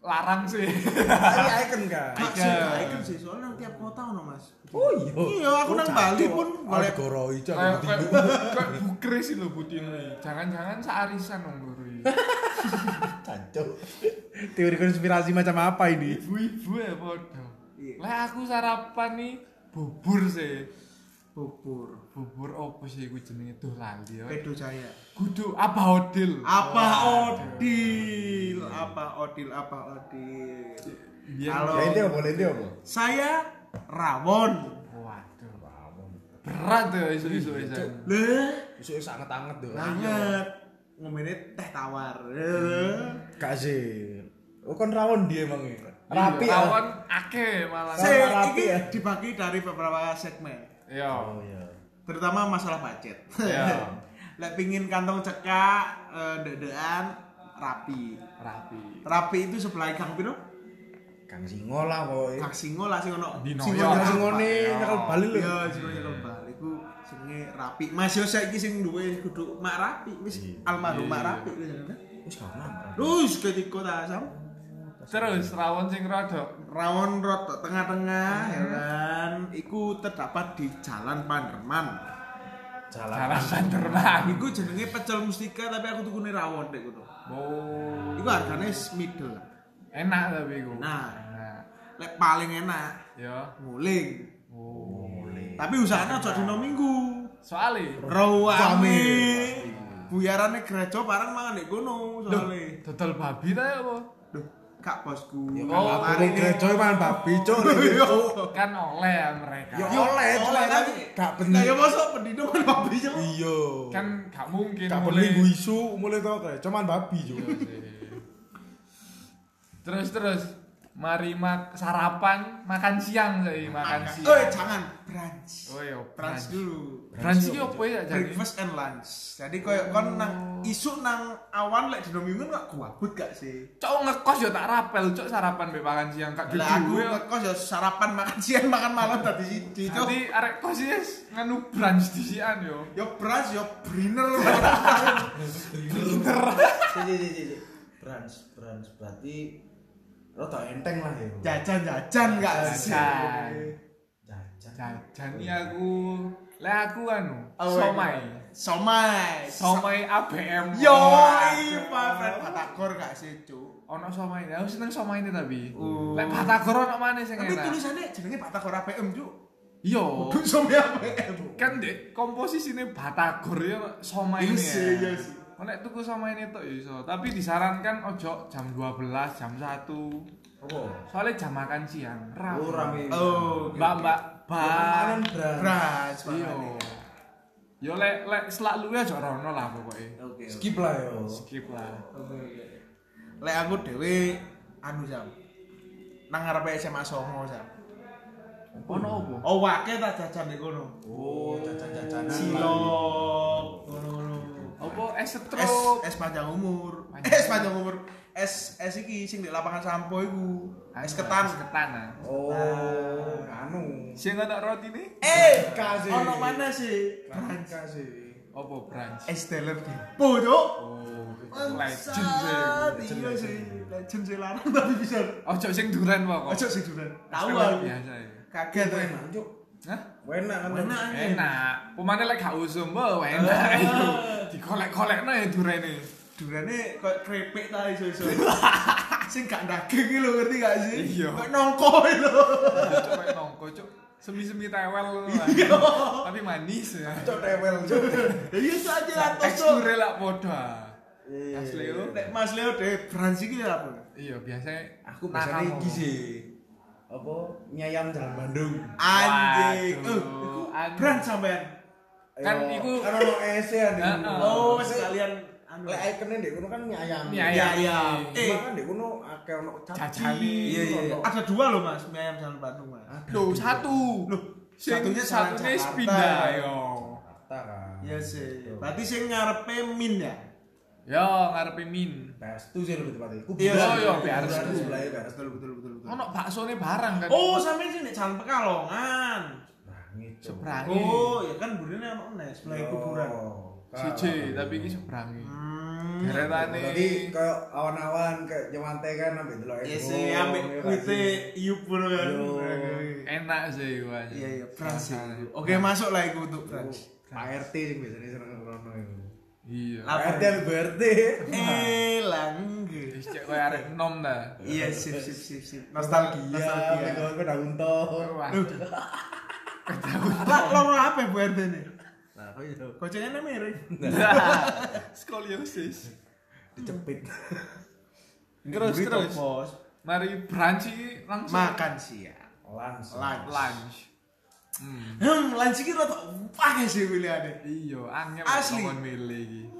Speaker 4: Larang (laughs) sih.
Speaker 3: Ini icon kan.
Speaker 2: Maksud icon sih, soalnya tiap kota ono, Mas.
Speaker 3: Oh iya.
Speaker 2: Iya, aku nang Bali pun
Speaker 3: oleh
Speaker 2: golek
Speaker 3: goro ijo aku
Speaker 4: Kayak kayak
Speaker 3: butinu.
Speaker 4: kayak bukre sih lho Butin iki. Jangan-jangan searisan wong loro iki.
Speaker 3: Jancuk. Teori konspirasi macam apa ini?
Speaker 4: Ibu-ibu ya podo.
Speaker 2: Iya.
Speaker 4: Lah aku sarapan nih bubur sih.
Speaker 2: bubur.
Speaker 4: Bubur opo sih iku jenenge duh lali ya.
Speaker 2: Pedo saya.
Speaker 4: Kudu apa hodil?
Speaker 2: Apa odil? Apa odil? Apa odil?
Speaker 4: Biar-
Speaker 2: Halo.
Speaker 3: Ya ini apa? Ini apa?
Speaker 2: Saya rawon.
Speaker 4: Waduh. Berat ya isu-isu isan.
Speaker 2: Leh,
Speaker 3: Besoknya sangat-anget tuh.
Speaker 2: banget. Ngomongnya teh tawar. Leh.
Speaker 3: Gak sih. Oh kan rawon dia emang ya. Rapi
Speaker 4: Iya,
Speaker 3: ya.
Speaker 4: Lawan akeh malah.
Speaker 3: Tawar
Speaker 2: Se,
Speaker 3: rapi
Speaker 2: ini
Speaker 3: ya.
Speaker 2: dibagi dari beberapa segmen.
Speaker 4: Yo.
Speaker 3: Oh iya.
Speaker 2: Terutama masalah budget.
Speaker 4: Iya.
Speaker 2: (laughs) Lek pingin kantong cekak, eh, dedean, rapi.
Speaker 4: Rapi.
Speaker 2: Rapi itu sebelah kang piro?
Speaker 3: Kang Singo lah pokoknya.
Speaker 2: Kang Singo lah sing ono.
Speaker 4: Dino,
Speaker 2: Singo
Speaker 4: ya.
Speaker 2: nyekel
Speaker 3: Kang Singo
Speaker 2: Pak.
Speaker 3: nih nyekel Bali lho.
Speaker 2: Iya, jenenge kembal iku jenenge rapi. Mas yo saiki sing duwe kudu mak rapi wis almarhum mak rapi wis jenenge.
Speaker 3: Wis gak nang.
Speaker 2: Terus ketika ta sam
Speaker 4: Terus rawon sing rodok.
Speaker 2: rawon rotok tengah-tengah ya kan iku terdapat di Jalan Panderman.
Speaker 3: Jalan.
Speaker 4: Jalan Banderman.
Speaker 2: Iku jenenge pecel mustika tapi aku tukune rawon dek kudu.
Speaker 4: Oh.
Speaker 2: Iku harganya middle.
Speaker 4: Enak tapi iku.
Speaker 2: Nah,
Speaker 4: Nah.
Speaker 2: lek paling enak
Speaker 4: Yo.
Speaker 2: nguling.
Speaker 4: Oh.
Speaker 2: Tapi usahane aja dino minggu.
Speaker 4: Soale
Speaker 2: Rawame. buyarane grejo parang mangan nek kono soalnya
Speaker 4: Dodol babi ta ya apa?
Speaker 2: Duh, kak bosku.
Speaker 4: Ya, Kak,
Speaker 2: mari
Speaker 3: Mari
Speaker 2: nih.
Speaker 3: gerejo mangan babi, cuk.
Speaker 4: Kan oleh ya mereka.
Speaker 3: Ya oleh, cuma
Speaker 2: Oleh,
Speaker 3: kan
Speaker 2: tapi-
Speaker 3: gak
Speaker 2: Lah
Speaker 3: bener.
Speaker 2: ya mosok pendino kan babi cok.
Speaker 3: Iya.
Speaker 4: Kan gak mungkin
Speaker 3: Gak
Speaker 4: mulai- Iya.
Speaker 3: bener gue isu mulai tau gerejo mangan babi, cuk.
Speaker 4: Terus terus mari mak sarapan, makan siang saya, makan siang.
Speaker 2: Eh, jangan brunch.
Speaker 4: Oh iya,
Speaker 2: Brunch dulu.
Speaker 4: Brunch iki opo ya jadi? Oh.
Speaker 2: Breakfast and lunch. Jadi koyo kon nang isuk nang awan lek dino minggu gak kuabut gak sih?
Speaker 4: Cok ngekos yo tak rapel, cok sarapan be makan siang kak
Speaker 2: Lah aku
Speaker 4: Juju, yo.
Speaker 2: ngekos ya sarapan makan siang makan malam tadi siji cok.
Speaker 4: Nanti arek kos iki nganu brunch disian yo.
Speaker 2: Yo brunch yo briner.
Speaker 3: Sini, sini, sini. Brunch, brunch berarti rotok enteng lah ya.
Speaker 2: (laughs) Jajan-jajan gak sih?
Speaker 4: Jajan.
Speaker 3: Jajan.
Speaker 4: Jajan iki aku lek aku anu
Speaker 2: Oh,
Speaker 4: somai.
Speaker 2: Somai.
Speaker 4: Somai ABM.
Speaker 2: Yo,
Speaker 4: Waduh.
Speaker 2: Pak Batagor gak sih, Cuk?
Speaker 4: Ono somai, aku seneng somai ini tapi. Lek Batagor ono mana sing
Speaker 2: Tapi
Speaker 4: enak?
Speaker 2: tulisannya jenenge Batagor APM, Cuk.
Speaker 4: Yo.
Speaker 2: Kudu sampe APM.
Speaker 4: kan dek komposisinya batagor ya soma
Speaker 2: Iya
Speaker 4: ini
Speaker 2: sih, iya
Speaker 4: ya
Speaker 2: sih.
Speaker 4: Oh, Nek tuku soma ini tuh iso, tapi disarankan ojo jam 12, jam 1
Speaker 3: Apa?
Speaker 4: Soalnya jam makan siang, rame
Speaker 3: Oh, rame.
Speaker 2: Oh,
Speaker 4: Mbak mbak, mbak
Speaker 3: Makanan brunch.
Speaker 2: Bras,
Speaker 4: Iya Yo lek lek selak luwe aja rono lah pokoknya
Speaker 2: Oke.
Speaker 3: Skip lah yo.
Speaker 4: Skip lah
Speaker 2: Oke. Lek aku dhewe anu jam. Nang ngarepe SMA Songo jam.
Speaker 4: Ono opo?
Speaker 2: Oh, wake ta jajan nek kono.
Speaker 3: Oh, jajan-jajanan.
Speaker 2: Cilok, ngono-ngono.
Speaker 4: Opo es setro
Speaker 2: Es es panjang umur.
Speaker 4: Panjang.
Speaker 2: Es panjang umur. Es es iki sing di lapangan sampo iku. Es ketan.
Speaker 4: Es ketan ah.
Speaker 3: Oh, anu.
Speaker 4: Sing ono roti nih?
Speaker 2: Eh,
Speaker 3: Kasih.
Speaker 2: ono mana sih?
Speaker 3: kasih.
Speaker 4: Opo brunch?
Speaker 2: Es teler depo, Cuk.
Speaker 4: Oh, legend
Speaker 2: Bangsat,
Speaker 4: sih
Speaker 2: iya sih. Legend sih larang tapi bisa.
Speaker 4: Ojo sing duren pokok
Speaker 2: Ojo sih duran. Tahu
Speaker 4: Setelah
Speaker 2: aku.
Speaker 4: biasa ya.
Speaker 2: Kaget aku.
Speaker 3: Enak, Cuk.
Speaker 4: Hah?
Speaker 3: Enak kan?
Speaker 2: Enak.
Speaker 4: Enak. Pemane lek gak usum, bo, enak.
Speaker 2: Ah.
Speaker 4: Dikolek-kolekno ya durene.
Speaker 2: Durane koyo krepek ta iso-iso. Sing gak daging iki lho ngerti gak sih?
Speaker 4: Iya.
Speaker 2: Kayak nongko iki lho.
Speaker 4: Cuk kayak nongko, cuk. Semi-semi tewel. lah. Tapi manis ya.
Speaker 3: Cok tewel, Cuk.
Speaker 2: Ya iya saja lah
Speaker 4: Teksture lak podo. ah. Mas Leo.
Speaker 2: Nek Mas Leo dhewe bransi iki ya apa?
Speaker 4: Iya, biasanya
Speaker 3: Aku biasanya
Speaker 4: nakal.
Speaker 3: iki sih. Apa? Nyayam jalan Bandung.
Speaker 2: Anjing.
Speaker 4: Waduh,
Speaker 2: Eh, iku
Speaker 4: anjing.
Speaker 2: brand sampean.
Speaker 4: Kan iku
Speaker 3: kan ono es ya di
Speaker 4: Heeh.
Speaker 3: kono.
Speaker 2: Oh,
Speaker 3: Maksudnya,
Speaker 2: sekalian anu.
Speaker 3: Lek ikone ndek kono kan nyayam.
Speaker 4: Nyayam.
Speaker 2: Iya, iya.
Speaker 3: Eh,
Speaker 2: Eh,
Speaker 3: kan ndek kono akeh ono caci.
Speaker 4: Jajane.
Speaker 2: iya iya. iya.
Speaker 3: ono-
Speaker 2: Ada dua loh Mas, mie ayam jalan Bandung,
Speaker 3: Ah,
Speaker 2: Mas.
Speaker 4: Loh, satu.
Speaker 2: Loh,
Speaker 4: Sing
Speaker 2: satunya sama
Speaker 4: satunya
Speaker 2: Jakarta.
Speaker 4: pindah yo.
Speaker 3: Jakarta kan.
Speaker 2: Iya sih. Berarti sing ngarepe min ya.
Speaker 4: Yo, ngarepe min.
Speaker 3: Pestu sih lebih tepatnya. Ku
Speaker 2: Iya,
Speaker 3: bilang.
Speaker 2: oh, iya,
Speaker 4: Pestu.
Speaker 3: Bulan sebelahnya Pestu.
Speaker 2: Betul betul betul betul.
Speaker 4: Ono baksone barang kan.
Speaker 2: Oh, sampean sing nek jalan Pekalongan.
Speaker 3: Seberangi, Cuk.
Speaker 4: Seberangi.
Speaker 2: Oh, ya kan burine ono nes sebelah
Speaker 3: Yo,
Speaker 2: kuburan.
Speaker 3: kan.
Speaker 4: Siji, tapi iki seberangi.
Speaker 2: Hmm.
Speaker 4: Deretane.
Speaker 3: Tadi kayak awan-awan kayak nyemantai kan ambil dulu.
Speaker 2: Iya sih, ambek kuite iup ngono kan.
Speaker 3: Yo.
Speaker 4: enak sih gue
Speaker 2: Iya iya, Frans. iku. Oke, masuk lah iku untuk Frans.
Speaker 3: Pak RT sih biasanya seneng ngerono itu.
Speaker 4: iya
Speaker 2: Apa?
Speaker 3: Pak RT ambil Bu RT.
Speaker 2: Elang.
Speaker 4: wis cek kowe arek nom ta
Speaker 2: Iya, sip sip sip sip. Nostalgia.
Speaker 3: Nostalgia.
Speaker 2: nostalgia.
Speaker 3: Gue udah untung.
Speaker 4: waduh
Speaker 2: Lah, loro apa Bu RT ini?
Speaker 3: Nah, kok itu
Speaker 2: Kocengannya mirip.
Speaker 4: (laughs) skoliosis
Speaker 3: dicepit.
Speaker 4: terus
Speaker 2: Burrito,
Speaker 4: terus
Speaker 2: Bos.
Speaker 4: mari brunch iki langsung
Speaker 2: Makan siang.
Speaker 3: Langsung.
Speaker 2: Lunch.
Speaker 4: lunch hmm.
Speaker 2: Hmm, lunch iki rada pakai sih pilihannya.
Speaker 4: iya angel
Speaker 2: Asli.
Speaker 4: kon milih iki
Speaker 2: Eh,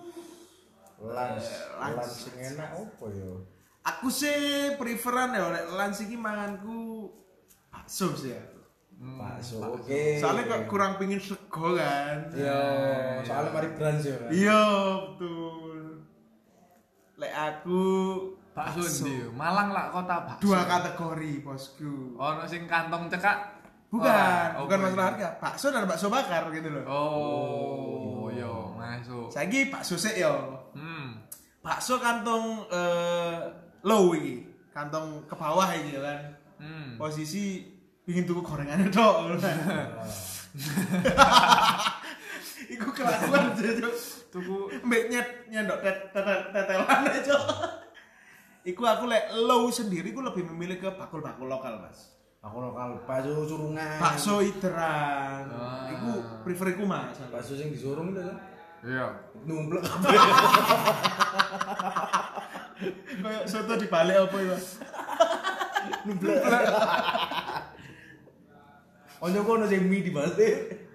Speaker 3: Lunch.
Speaker 2: Lunch.
Speaker 3: Lunch sing enak opo yo?
Speaker 2: Aku sih preferan ya oleh lunch iki manganku bakso sih ya.
Speaker 4: Hmm,
Speaker 3: Bakso.
Speaker 4: Eh.
Speaker 3: Oke.
Speaker 2: Hmm, Soalnya kok kurang pingin sego kan.
Speaker 3: Yo, soalnya mari brunch yo. kan.
Speaker 2: Eh, Iya, betul. Lek aku
Speaker 4: bakso ndi yo? Malang lah kota bakso
Speaker 2: dua kategori bosku.
Speaker 4: ono sing kantong cekak
Speaker 2: Bukan,
Speaker 4: Ora,
Speaker 2: bukan
Speaker 4: opo
Speaker 2: masalah
Speaker 4: iki?
Speaker 2: harga. Bakso dan bakso bakar gitu loh.
Speaker 4: oh yo masuk
Speaker 2: Saiki bakso sik yo.
Speaker 4: hmm
Speaker 2: bakso kantong eh, low iki kantong ke bawah iki ya kan
Speaker 4: hmm
Speaker 2: posisi pingin tuku gorengannya kan. dok iku kelakuan aja cok
Speaker 4: tuku
Speaker 2: mbek nyet nyendok tet, tetel tetelan aja iku aku lek low sendiri ku lebih memilih ke bakul bakul lokal mas
Speaker 3: Aku lokal bakso surungan.
Speaker 2: bakso iteran iku preferiku mas
Speaker 3: Bakso sing disurung itu kan?
Speaker 4: Iya.
Speaker 3: numplek (laughs)
Speaker 2: Kayak soto dibalik apa ya?
Speaker 3: Onyo kono sing mie di balik.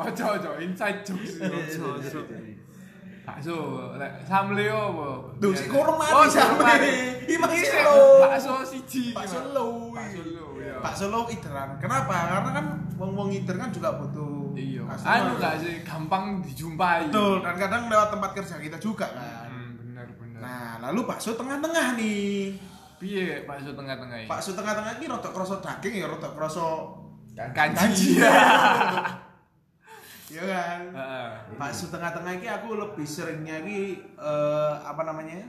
Speaker 4: Ojo ojo inside jokes. Ojo ojo. Bakso, lek samle apa?
Speaker 3: Duh, si kurma
Speaker 4: Oh,
Speaker 3: bisa
Speaker 4: kurma.
Speaker 3: Ini mah
Speaker 4: Iya,
Speaker 3: selo.
Speaker 4: Bakso siji. iki,
Speaker 2: Bakso
Speaker 4: Mas.
Speaker 2: lo.
Speaker 4: Bakso lo, iya.
Speaker 2: Bakso lo iteran. Kenapa? Karena kan wong-wong iter kan juga butuh.
Speaker 4: Iya.
Speaker 2: customer.
Speaker 4: Anu gak sih gampang dijumpai.
Speaker 2: Betul, dan kadang lewat tempat kerja kita juga kan.
Speaker 4: Hmm, bener bener.
Speaker 2: Nah, lalu bakso tengah-tengah nih.
Speaker 4: Piye bakso tengah-tengah iki?
Speaker 2: Bakso tengah-tengah ini rotok kroso daging ya, rotok kroso
Speaker 4: Kanji.
Speaker 2: (laughs) ya kan.
Speaker 4: Heeh.
Speaker 2: Bakso tengah-tengah ini aku lebih seringnya ini eh, apa namanya?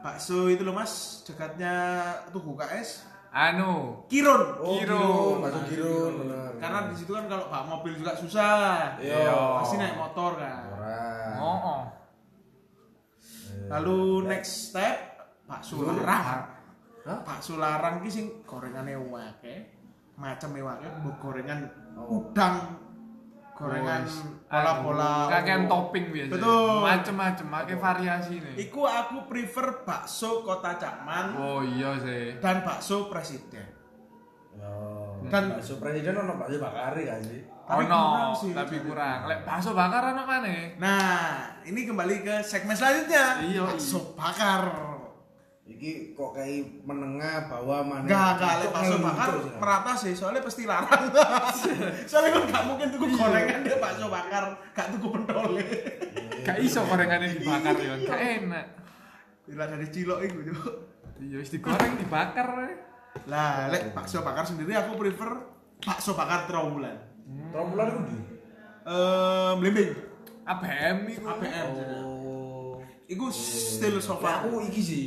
Speaker 2: Bakso itu loh Mas, dekatnya Tugu KS.
Speaker 4: Anu,
Speaker 2: Kirun.
Speaker 4: Oh, Kirun,
Speaker 3: masuk kirun bener.
Speaker 2: Karena di situ kan kalau bawa mobil juga susah.
Speaker 4: Iya.
Speaker 2: Pasti naik motor kan.
Speaker 3: Ora. Eh,
Speaker 4: oh, oh.
Speaker 2: Lalu next step bakso
Speaker 3: Iya.
Speaker 2: larang.
Speaker 3: Hah?
Speaker 2: Bakso larang ki sing gorengane wake, macam wake, mbok gorengan
Speaker 3: Oh.
Speaker 2: udang, gorengan Oh.
Speaker 4: Wes.
Speaker 2: pola-pola.
Speaker 4: kakean topping biasa.
Speaker 2: Betul.
Speaker 4: Macem-macem, akeh variasi nih.
Speaker 2: Iku aku prefer bakso Kota Cakman
Speaker 4: Oh iya sih.
Speaker 2: dan bakso Presiden.
Speaker 3: Oh.
Speaker 2: Dan-
Speaker 3: bakso presiden ono bakso bakari kan sih.
Speaker 2: Tapi kurang
Speaker 4: Ono,
Speaker 2: sih.
Speaker 4: tapi kurang. Lek bakso bakar ono maneh.
Speaker 2: Nah, ini kembali ke segmen selanjutnya.
Speaker 4: Iya,
Speaker 2: bakso bakar.
Speaker 3: Iki kok kayak menengah bawah mana?
Speaker 2: Enggak, enggak, lek
Speaker 3: Kok
Speaker 2: bakso
Speaker 3: kayak
Speaker 2: bakar
Speaker 3: lucu sih, kan?
Speaker 2: merata sih, soalnya pasti larang. (laughs) soalnya kan gak mungkin tuku gorengan dia bakso bakar, gak tuku pentole.
Speaker 4: Gak iso gorengannya dibakar ya, gak enak.
Speaker 2: Gila dari cilok itu, Cuk.
Speaker 4: Iya, wis digoreng dibakar. weh.
Speaker 2: Lah, lek bakso bakar sendiri aku prefer bakso bakar trawulan.
Speaker 3: Trombulan itu di.
Speaker 2: Eh, blimbing.
Speaker 4: ABM iku.
Speaker 2: APM.
Speaker 3: Oh.
Speaker 2: Iku still so
Speaker 3: Lah,
Speaker 2: far.
Speaker 3: aku iki sih.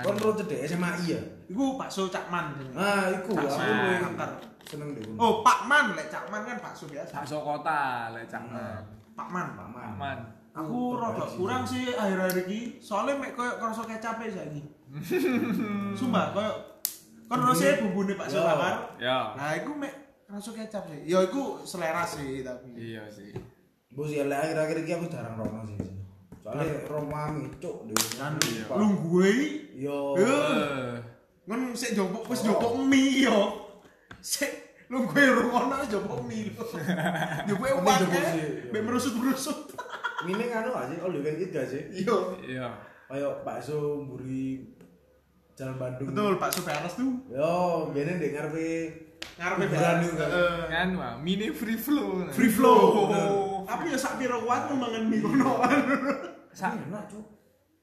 Speaker 3: Kon ro cedek SMA iya.
Speaker 2: Iku bakso cakman. jenenge.
Speaker 3: Nah, iku aku
Speaker 2: Bakso
Speaker 3: luwih
Speaker 2: bakar.
Speaker 3: seneng deh.
Speaker 2: Oh, Pakman, lek cakman kan bakso biasa.
Speaker 4: Bakso kota lek cangkem.
Speaker 2: Pakman.
Speaker 3: Paman.
Speaker 4: Aman.
Speaker 3: Oh,
Speaker 2: Aku rada kurang sih akhir-akhir ini soalnya mek koyo kerasa kecape saiki. Sumpah koyo kon rasa bumbune Pak
Speaker 3: Yo.
Speaker 2: Bakar.
Speaker 4: Ya.
Speaker 2: Nah, iku mek kerasa kecap sih. Ya iku selera sih tapi.
Speaker 4: Iya sih.
Speaker 3: Bos ya lek akhir-akhir iki aku jarang rono sih. Soalnya Roma ngicuk deh.
Speaker 2: Kan
Speaker 4: Iya.
Speaker 2: lungguhe
Speaker 3: Yo.
Speaker 2: Eh.
Speaker 4: Eh,
Speaker 2: ngon sik jopok wis jopok mie yo. Sik lungguhe rungono wis jopok mie lho. Jopoke
Speaker 3: Penting
Speaker 2: uang
Speaker 3: jopok sih,
Speaker 2: ya.
Speaker 3: iya.
Speaker 2: eh. Mek merusut-merusut.
Speaker 3: Mine anu aja all you can eat gak sih?
Speaker 2: Yo.
Speaker 4: Iya.
Speaker 3: Kayak bakso mburi jalan Bandung.
Speaker 2: Betul, Pak Sofianas tuh
Speaker 3: Yo, biasanya deh ngarepe
Speaker 2: ngarepe
Speaker 3: Berani,
Speaker 2: Pak.
Speaker 3: kan?
Speaker 2: Heeh.
Speaker 4: Kan wah, mini free flow. nah.
Speaker 2: free flow.
Speaker 4: Oh.
Speaker 2: Tapi ya sak piro kuatmu mangan mie kono.
Speaker 4: Sa-
Speaker 3: enak, Cuk.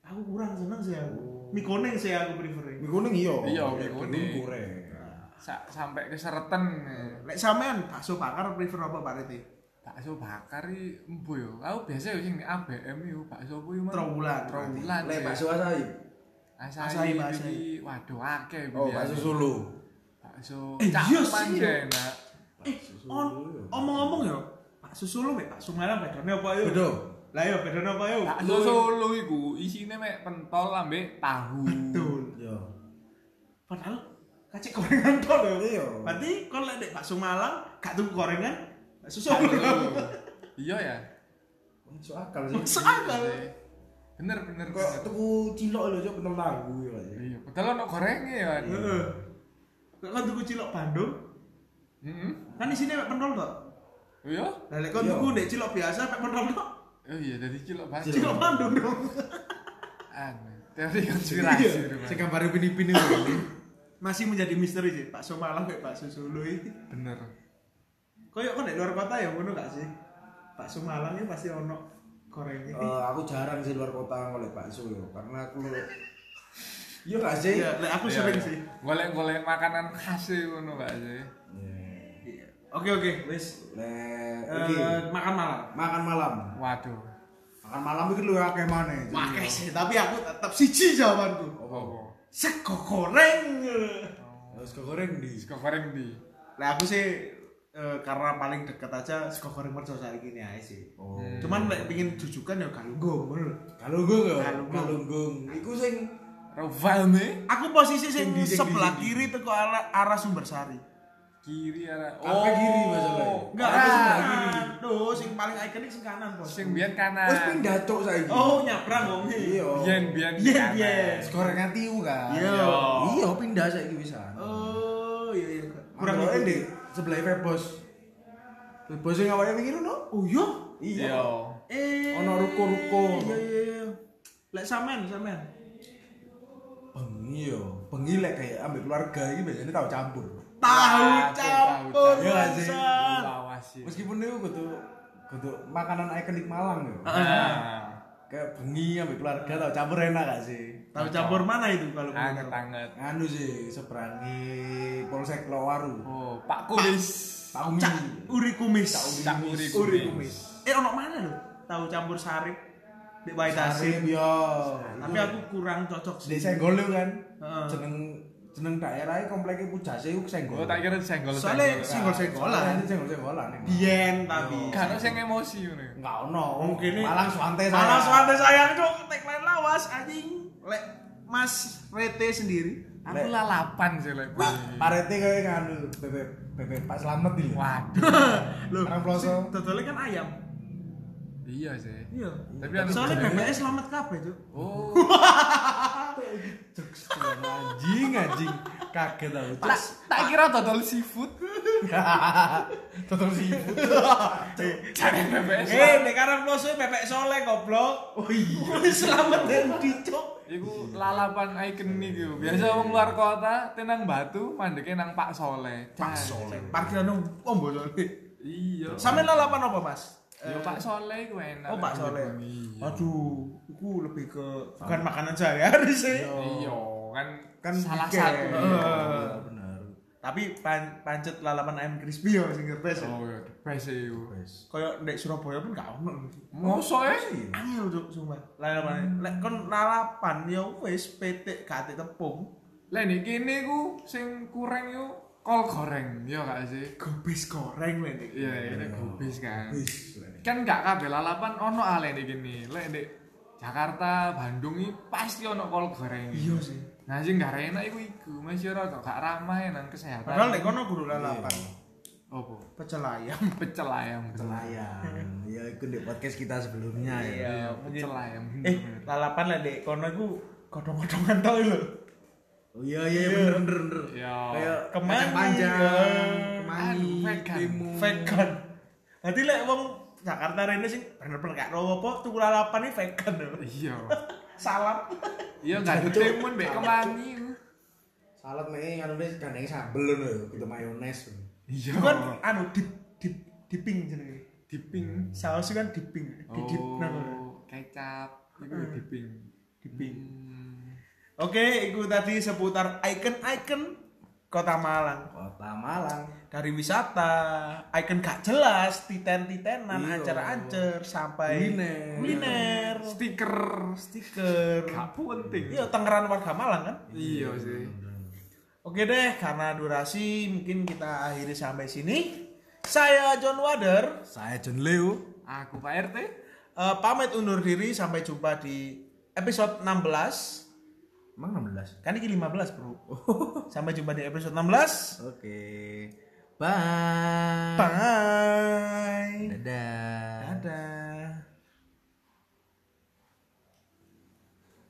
Speaker 2: aku kurang seneng sih aku. Mie kuning sih aku prefer. e.
Speaker 3: Mie kuning iya.
Speaker 4: Iya, mie
Speaker 3: Mie
Speaker 4: kuning.
Speaker 3: goreng.
Speaker 4: sa- sampai keseretan. eh.
Speaker 2: Lek sampean bakso bakar prefer apa Pak Rete?
Speaker 4: bakso bakar iki embo yo. Aku biasa yo sing di ABM yo bakso kuwi mah.
Speaker 2: Trawulan.
Speaker 4: Trawulan.
Speaker 3: Lek
Speaker 4: ya.
Speaker 3: bakso asahi.
Speaker 2: Asahi,
Speaker 4: Asahi, iki. Waduh akeh
Speaker 3: Oh,
Speaker 4: pilihan.
Speaker 3: bakso Solo.
Speaker 4: Bakso
Speaker 2: Eh, iya
Speaker 4: cangkeman
Speaker 2: sih,
Speaker 4: ya
Speaker 2: yo.
Speaker 4: enak.
Speaker 2: Eh,
Speaker 3: Solo, iya.
Speaker 2: on omong-omong ya, bakso Solo mek bakso Malang bedane apa yo?
Speaker 3: Beda.
Speaker 2: Lah yo bedane apa yo?
Speaker 4: Bakso Solo iku isine mek pentol ambek tahu.
Speaker 2: Betul.
Speaker 3: Yo.
Speaker 2: Padahal kacik gorengan (laughs) tok lho.
Speaker 3: Iya.
Speaker 2: Berarti kon lek nek bakso Malang gak tuku gorengan, bakso Solo.
Speaker 4: Bakso Solo. Iya ya.
Speaker 3: Masuk akal sih.
Speaker 2: Masuk akal.
Speaker 4: Bener bener
Speaker 3: Kok
Speaker 4: bener.
Speaker 3: tuku cilok lho, Cuk, penem lagu ya. Pak.
Speaker 4: Iya, padahal ono gorenge ya.
Speaker 2: (laughs) Heeh. Kok kon tuku cilok Bandung?
Speaker 4: Heeh.
Speaker 2: Kan isine mek pentol tok.
Speaker 4: Oh Iya.
Speaker 2: Lah lek kon
Speaker 3: Iya.
Speaker 2: tuku nek cilok biasa mek pentol tok.
Speaker 4: Oh iya dari cilok bakso.
Speaker 2: Cilok Bandung dong.
Speaker 4: Anu, teori konspirasi.
Speaker 2: Iya,
Speaker 4: Rupanya.
Speaker 1: Sing gambar pini-pini lho.
Speaker 2: Masih menjadi misteri sih bakso Malang mek bakso Solo iki.
Speaker 4: Bener.
Speaker 2: Koyok kan di luar kota ya ngono gak sih? Bakso Malang ya pasti ono gorengnya.
Speaker 3: Eh, aku jarang sih luar kota ngoleh bakso yo karena aku Iya gak sih?
Speaker 2: Iya, lek aku
Speaker 4: Iya,
Speaker 2: sering
Speaker 4: iya.
Speaker 2: sih.
Speaker 4: Golek-golek makanan khas e ngono Pak sih.
Speaker 3: Iya.
Speaker 2: Oke oke, wis.
Speaker 3: Lek
Speaker 2: Eh,
Speaker 3: iki,
Speaker 2: makan malam.
Speaker 3: makan malam.
Speaker 4: Waduh.
Speaker 3: Makan malam iki lu akeh maneh. Cuk.
Speaker 2: Makai sih, tapi aku tetap siji jawabanku.
Speaker 4: Apa?
Speaker 2: Sego goreng.
Speaker 3: Terus ke goreng di.
Speaker 4: Sego goreng di.
Speaker 2: Lah aku sih eh, karena paling deket aja sego goreng merco saat ini aja sih.
Speaker 3: Oh.
Speaker 2: Cuman lek pengin jujukan ya galunggung ngono. lho.
Speaker 3: Kalunggung ya?
Speaker 2: Kalunggung.
Speaker 3: Kalunggung. Iku sing
Speaker 4: Rovame.
Speaker 2: Aku posisi
Speaker 3: Sing
Speaker 2: sing
Speaker 3: di- sing di-
Speaker 2: sebelah
Speaker 3: sing di.
Speaker 2: kiri teko arah, arah sumber sari.
Speaker 4: Kiri arah. Oh. Ah.
Speaker 3: Kabeh kiri masalahnya.
Speaker 2: Enggak,
Speaker 3: Ora.
Speaker 2: kanan. Duh, sing paling ikonik sing kanan, Bos.
Speaker 4: Sing biyen kanan.
Speaker 3: Wis pindah cuk saiki.
Speaker 2: Eh. Oh, nyabrang wonge.
Speaker 3: Iya.
Speaker 4: Biyen biyen
Speaker 2: Biyen,
Speaker 4: kanan.
Speaker 2: biyen.
Speaker 3: Skorengan tiu kan.
Speaker 2: Iya.
Speaker 3: Iya pindah saiki wisan.
Speaker 2: Oh, iya iya.
Speaker 3: Kurang
Speaker 2: ikut.
Speaker 3: di sebelah Febos. Febos sing awake mikir no?
Speaker 2: Oh, iya.
Speaker 4: Iya.
Speaker 2: Eh.
Speaker 3: Ono ruko-ruko.
Speaker 2: Iya iya iya. Lek sampean, sampean.
Speaker 3: Bengi yo. Bengi lek kayak ambil keluarga iki biasanya tau campur.
Speaker 2: Tahu
Speaker 4: Wah,
Speaker 2: campur.
Speaker 4: tahu
Speaker 3: Iya
Speaker 2: Iya
Speaker 3: nggak sih?
Speaker 4: Lawas ya.
Speaker 3: Meskipun itu kudu kudu makanan ikonik Malang yo.
Speaker 4: Ah.
Speaker 2: Ah.
Speaker 4: Nah,
Speaker 3: Kayak bengi ambil keluarga tau campur enak gak sih?
Speaker 2: Tahu campur mana itu kalau
Speaker 4: Anget
Speaker 2: bener?
Speaker 4: anget.
Speaker 3: Anu sih seberangi Polsek Lowaru.
Speaker 4: Oh, Pak Kulis.
Speaker 3: Tahu
Speaker 2: Cak
Speaker 3: mini.
Speaker 2: uri kumis.
Speaker 4: Cak Uri
Speaker 2: Uri
Speaker 4: Kumis.
Speaker 2: kumis. Eh, ono mana lho? Tahu campur sarip. Di Wai
Speaker 3: Sarip
Speaker 2: Tasik.
Speaker 3: yo.
Speaker 2: Tapi aku kurang cocok
Speaker 3: di
Speaker 2: sih.
Speaker 3: senggol lu kan.
Speaker 2: Heeh.
Speaker 3: Jeneng jeneng daerahnya kompleknya Pujase iku senggol.
Speaker 4: Oh, tak kira senggol
Speaker 2: Soalnya
Speaker 4: senggol.
Speaker 2: singgol-singgolan.
Speaker 3: senggol-senggolan. Iya.
Speaker 2: Biyen tapi.
Speaker 4: Karo sing emosi ngono.
Speaker 3: Enggak ono.
Speaker 2: Mungkin ini-
Speaker 3: Malang santai saya.
Speaker 2: Malah suante sayang cok, tagline lawas anjing. Lek Mas Rete sendiri.
Speaker 4: Aku lalapan sih lek.
Speaker 3: Pak Parete kayak nganu PP PP Pak Slamet iki.
Speaker 4: Waduh.
Speaker 2: Loh,
Speaker 3: Orang Ploso.
Speaker 2: sing dodolnya kan ayam.
Speaker 4: Iya sih.
Speaker 2: Iya.
Speaker 4: Tapi anu
Speaker 2: Soalnya
Speaker 4: bedanya-
Speaker 2: BPS selamat kabeh cok. (laughs)
Speaker 4: Oh.
Speaker 3: Jokes doang, anjing anjing kaget aku.
Speaker 4: Tak tak kira dodol seafood.
Speaker 3: Total sibuk.
Speaker 4: Jangan BBS.
Speaker 2: Eh, nek karang ploso bebek soleh goblok. Oh iya. Selamat dan dicok.
Speaker 4: Iku lalapan ikonik yo. Biasa wong luar kota tenang Batu, mandeke nang Pak Soleh. Pak Soleh.
Speaker 2: Parkiran dong, om boleh.
Speaker 4: Iya.
Speaker 2: Sampe lalapan apa mas?
Speaker 4: Yo Pak Soleh ku enak.
Speaker 2: Eh, Oh Pak Soleh.
Speaker 4: Iya.
Speaker 2: Aduh, itu lebih ke bukan makanan sehari-hari sih.
Speaker 4: Iya, kan
Speaker 3: Kan
Speaker 4: salah
Speaker 3: weekend.
Speaker 4: satu. Eh.
Speaker 2: Heeh.
Speaker 3: Benar.
Speaker 2: Tapi pan pancet lalapan ayam crispy yo sing the best.
Speaker 4: Oh, iya, the best sih yo.
Speaker 3: Wes.
Speaker 2: Kayak ndek Surabaya pun gak ono.
Speaker 4: Mosok e?
Speaker 2: Angel cuk sumpah. Hmm. Lalapan. Lek kon lalapan ya wis petik gak atik tepung.
Speaker 4: Lah nek kene ku sing kurang yo kol goreng, yo gak sih?
Speaker 2: Gobis goreng lek iki.
Speaker 4: Iya, ini gubis kan.
Speaker 3: Wis.
Speaker 4: Kan gak kabeh lalapan ono ale nek kene. Lek nek Jakarta, Bandung iki pasti ono kol goreng.
Speaker 2: Iya sih.
Speaker 4: Nah, sing gak enak iku iku, masih ora kok gak ramah ya nang kesehatan.
Speaker 2: Padahal nek kono guru lalapan.
Speaker 4: opo?
Speaker 2: Pecel ayam.
Speaker 4: Pecel ayam, pecel ayam.
Speaker 3: Layang. Ya ikut di podcast kita sebelumnya ya.
Speaker 4: Iya,
Speaker 2: mungkin.
Speaker 4: pecel ayam.
Speaker 2: (laughs) Eh, lalapan lek ndek kono iku godhong-godhongan tok lho.
Speaker 3: Oh iya iya bener bener bener.
Speaker 4: Iya.
Speaker 3: Oh. Kayak
Speaker 2: Kemangi,
Speaker 3: kacang panjang,
Speaker 2: iya.
Speaker 3: kemangi,
Speaker 4: Aduh, vegan.
Speaker 3: timun.
Speaker 2: Vegan. Nanti lek wong Jakarta rene sing bener-bener gak rowo apa tuku lalapan iki vegan lho.
Speaker 4: Iya.
Speaker 2: Salam.
Speaker 4: Iya gak ada timun mbek kemangi.
Speaker 3: Salad nih anu wis gandeng sambel ngono ya, gitu mayones.
Speaker 4: Iya.
Speaker 2: Bukan anu dip dip dipping jenenge.
Speaker 3: Hmm.
Speaker 4: diping.
Speaker 2: Saus kan dipping, didip nang
Speaker 4: Oh, kecap. Iku diping.
Speaker 2: dipping.
Speaker 3: Hmm.
Speaker 2: Oke, itu tadi seputar icon-icon kota Malang.
Speaker 3: Kota Malang.
Speaker 2: Dari wisata, icon gak jelas, titen-titenan,
Speaker 3: Iya.
Speaker 2: ancer-ancer, sampai
Speaker 3: Kuliner. Iya.
Speaker 2: kuliner,
Speaker 4: Stiker.
Speaker 2: stiker.
Speaker 4: Gak penting.
Speaker 2: Iya, Tangerang warga Malang kan?
Speaker 4: Iya sih.
Speaker 2: Oke deh, karena durasi mungkin kita akhiri sampai sini. Saya John Wader,
Speaker 3: Saya John Leo.
Speaker 4: Aku Pak RT.
Speaker 2: eh, pamit undur diri sampai jumpa di episode 16.
Speaker 3: Emang 16.
Speaker 2: Kan ini 15, Bro. Sampai jumpa di episode 16.
Speaker 3: Oke. Bye.
Speaker 2: Bye.
Speaker 3: Dadah.
Speaker 2: Dadah.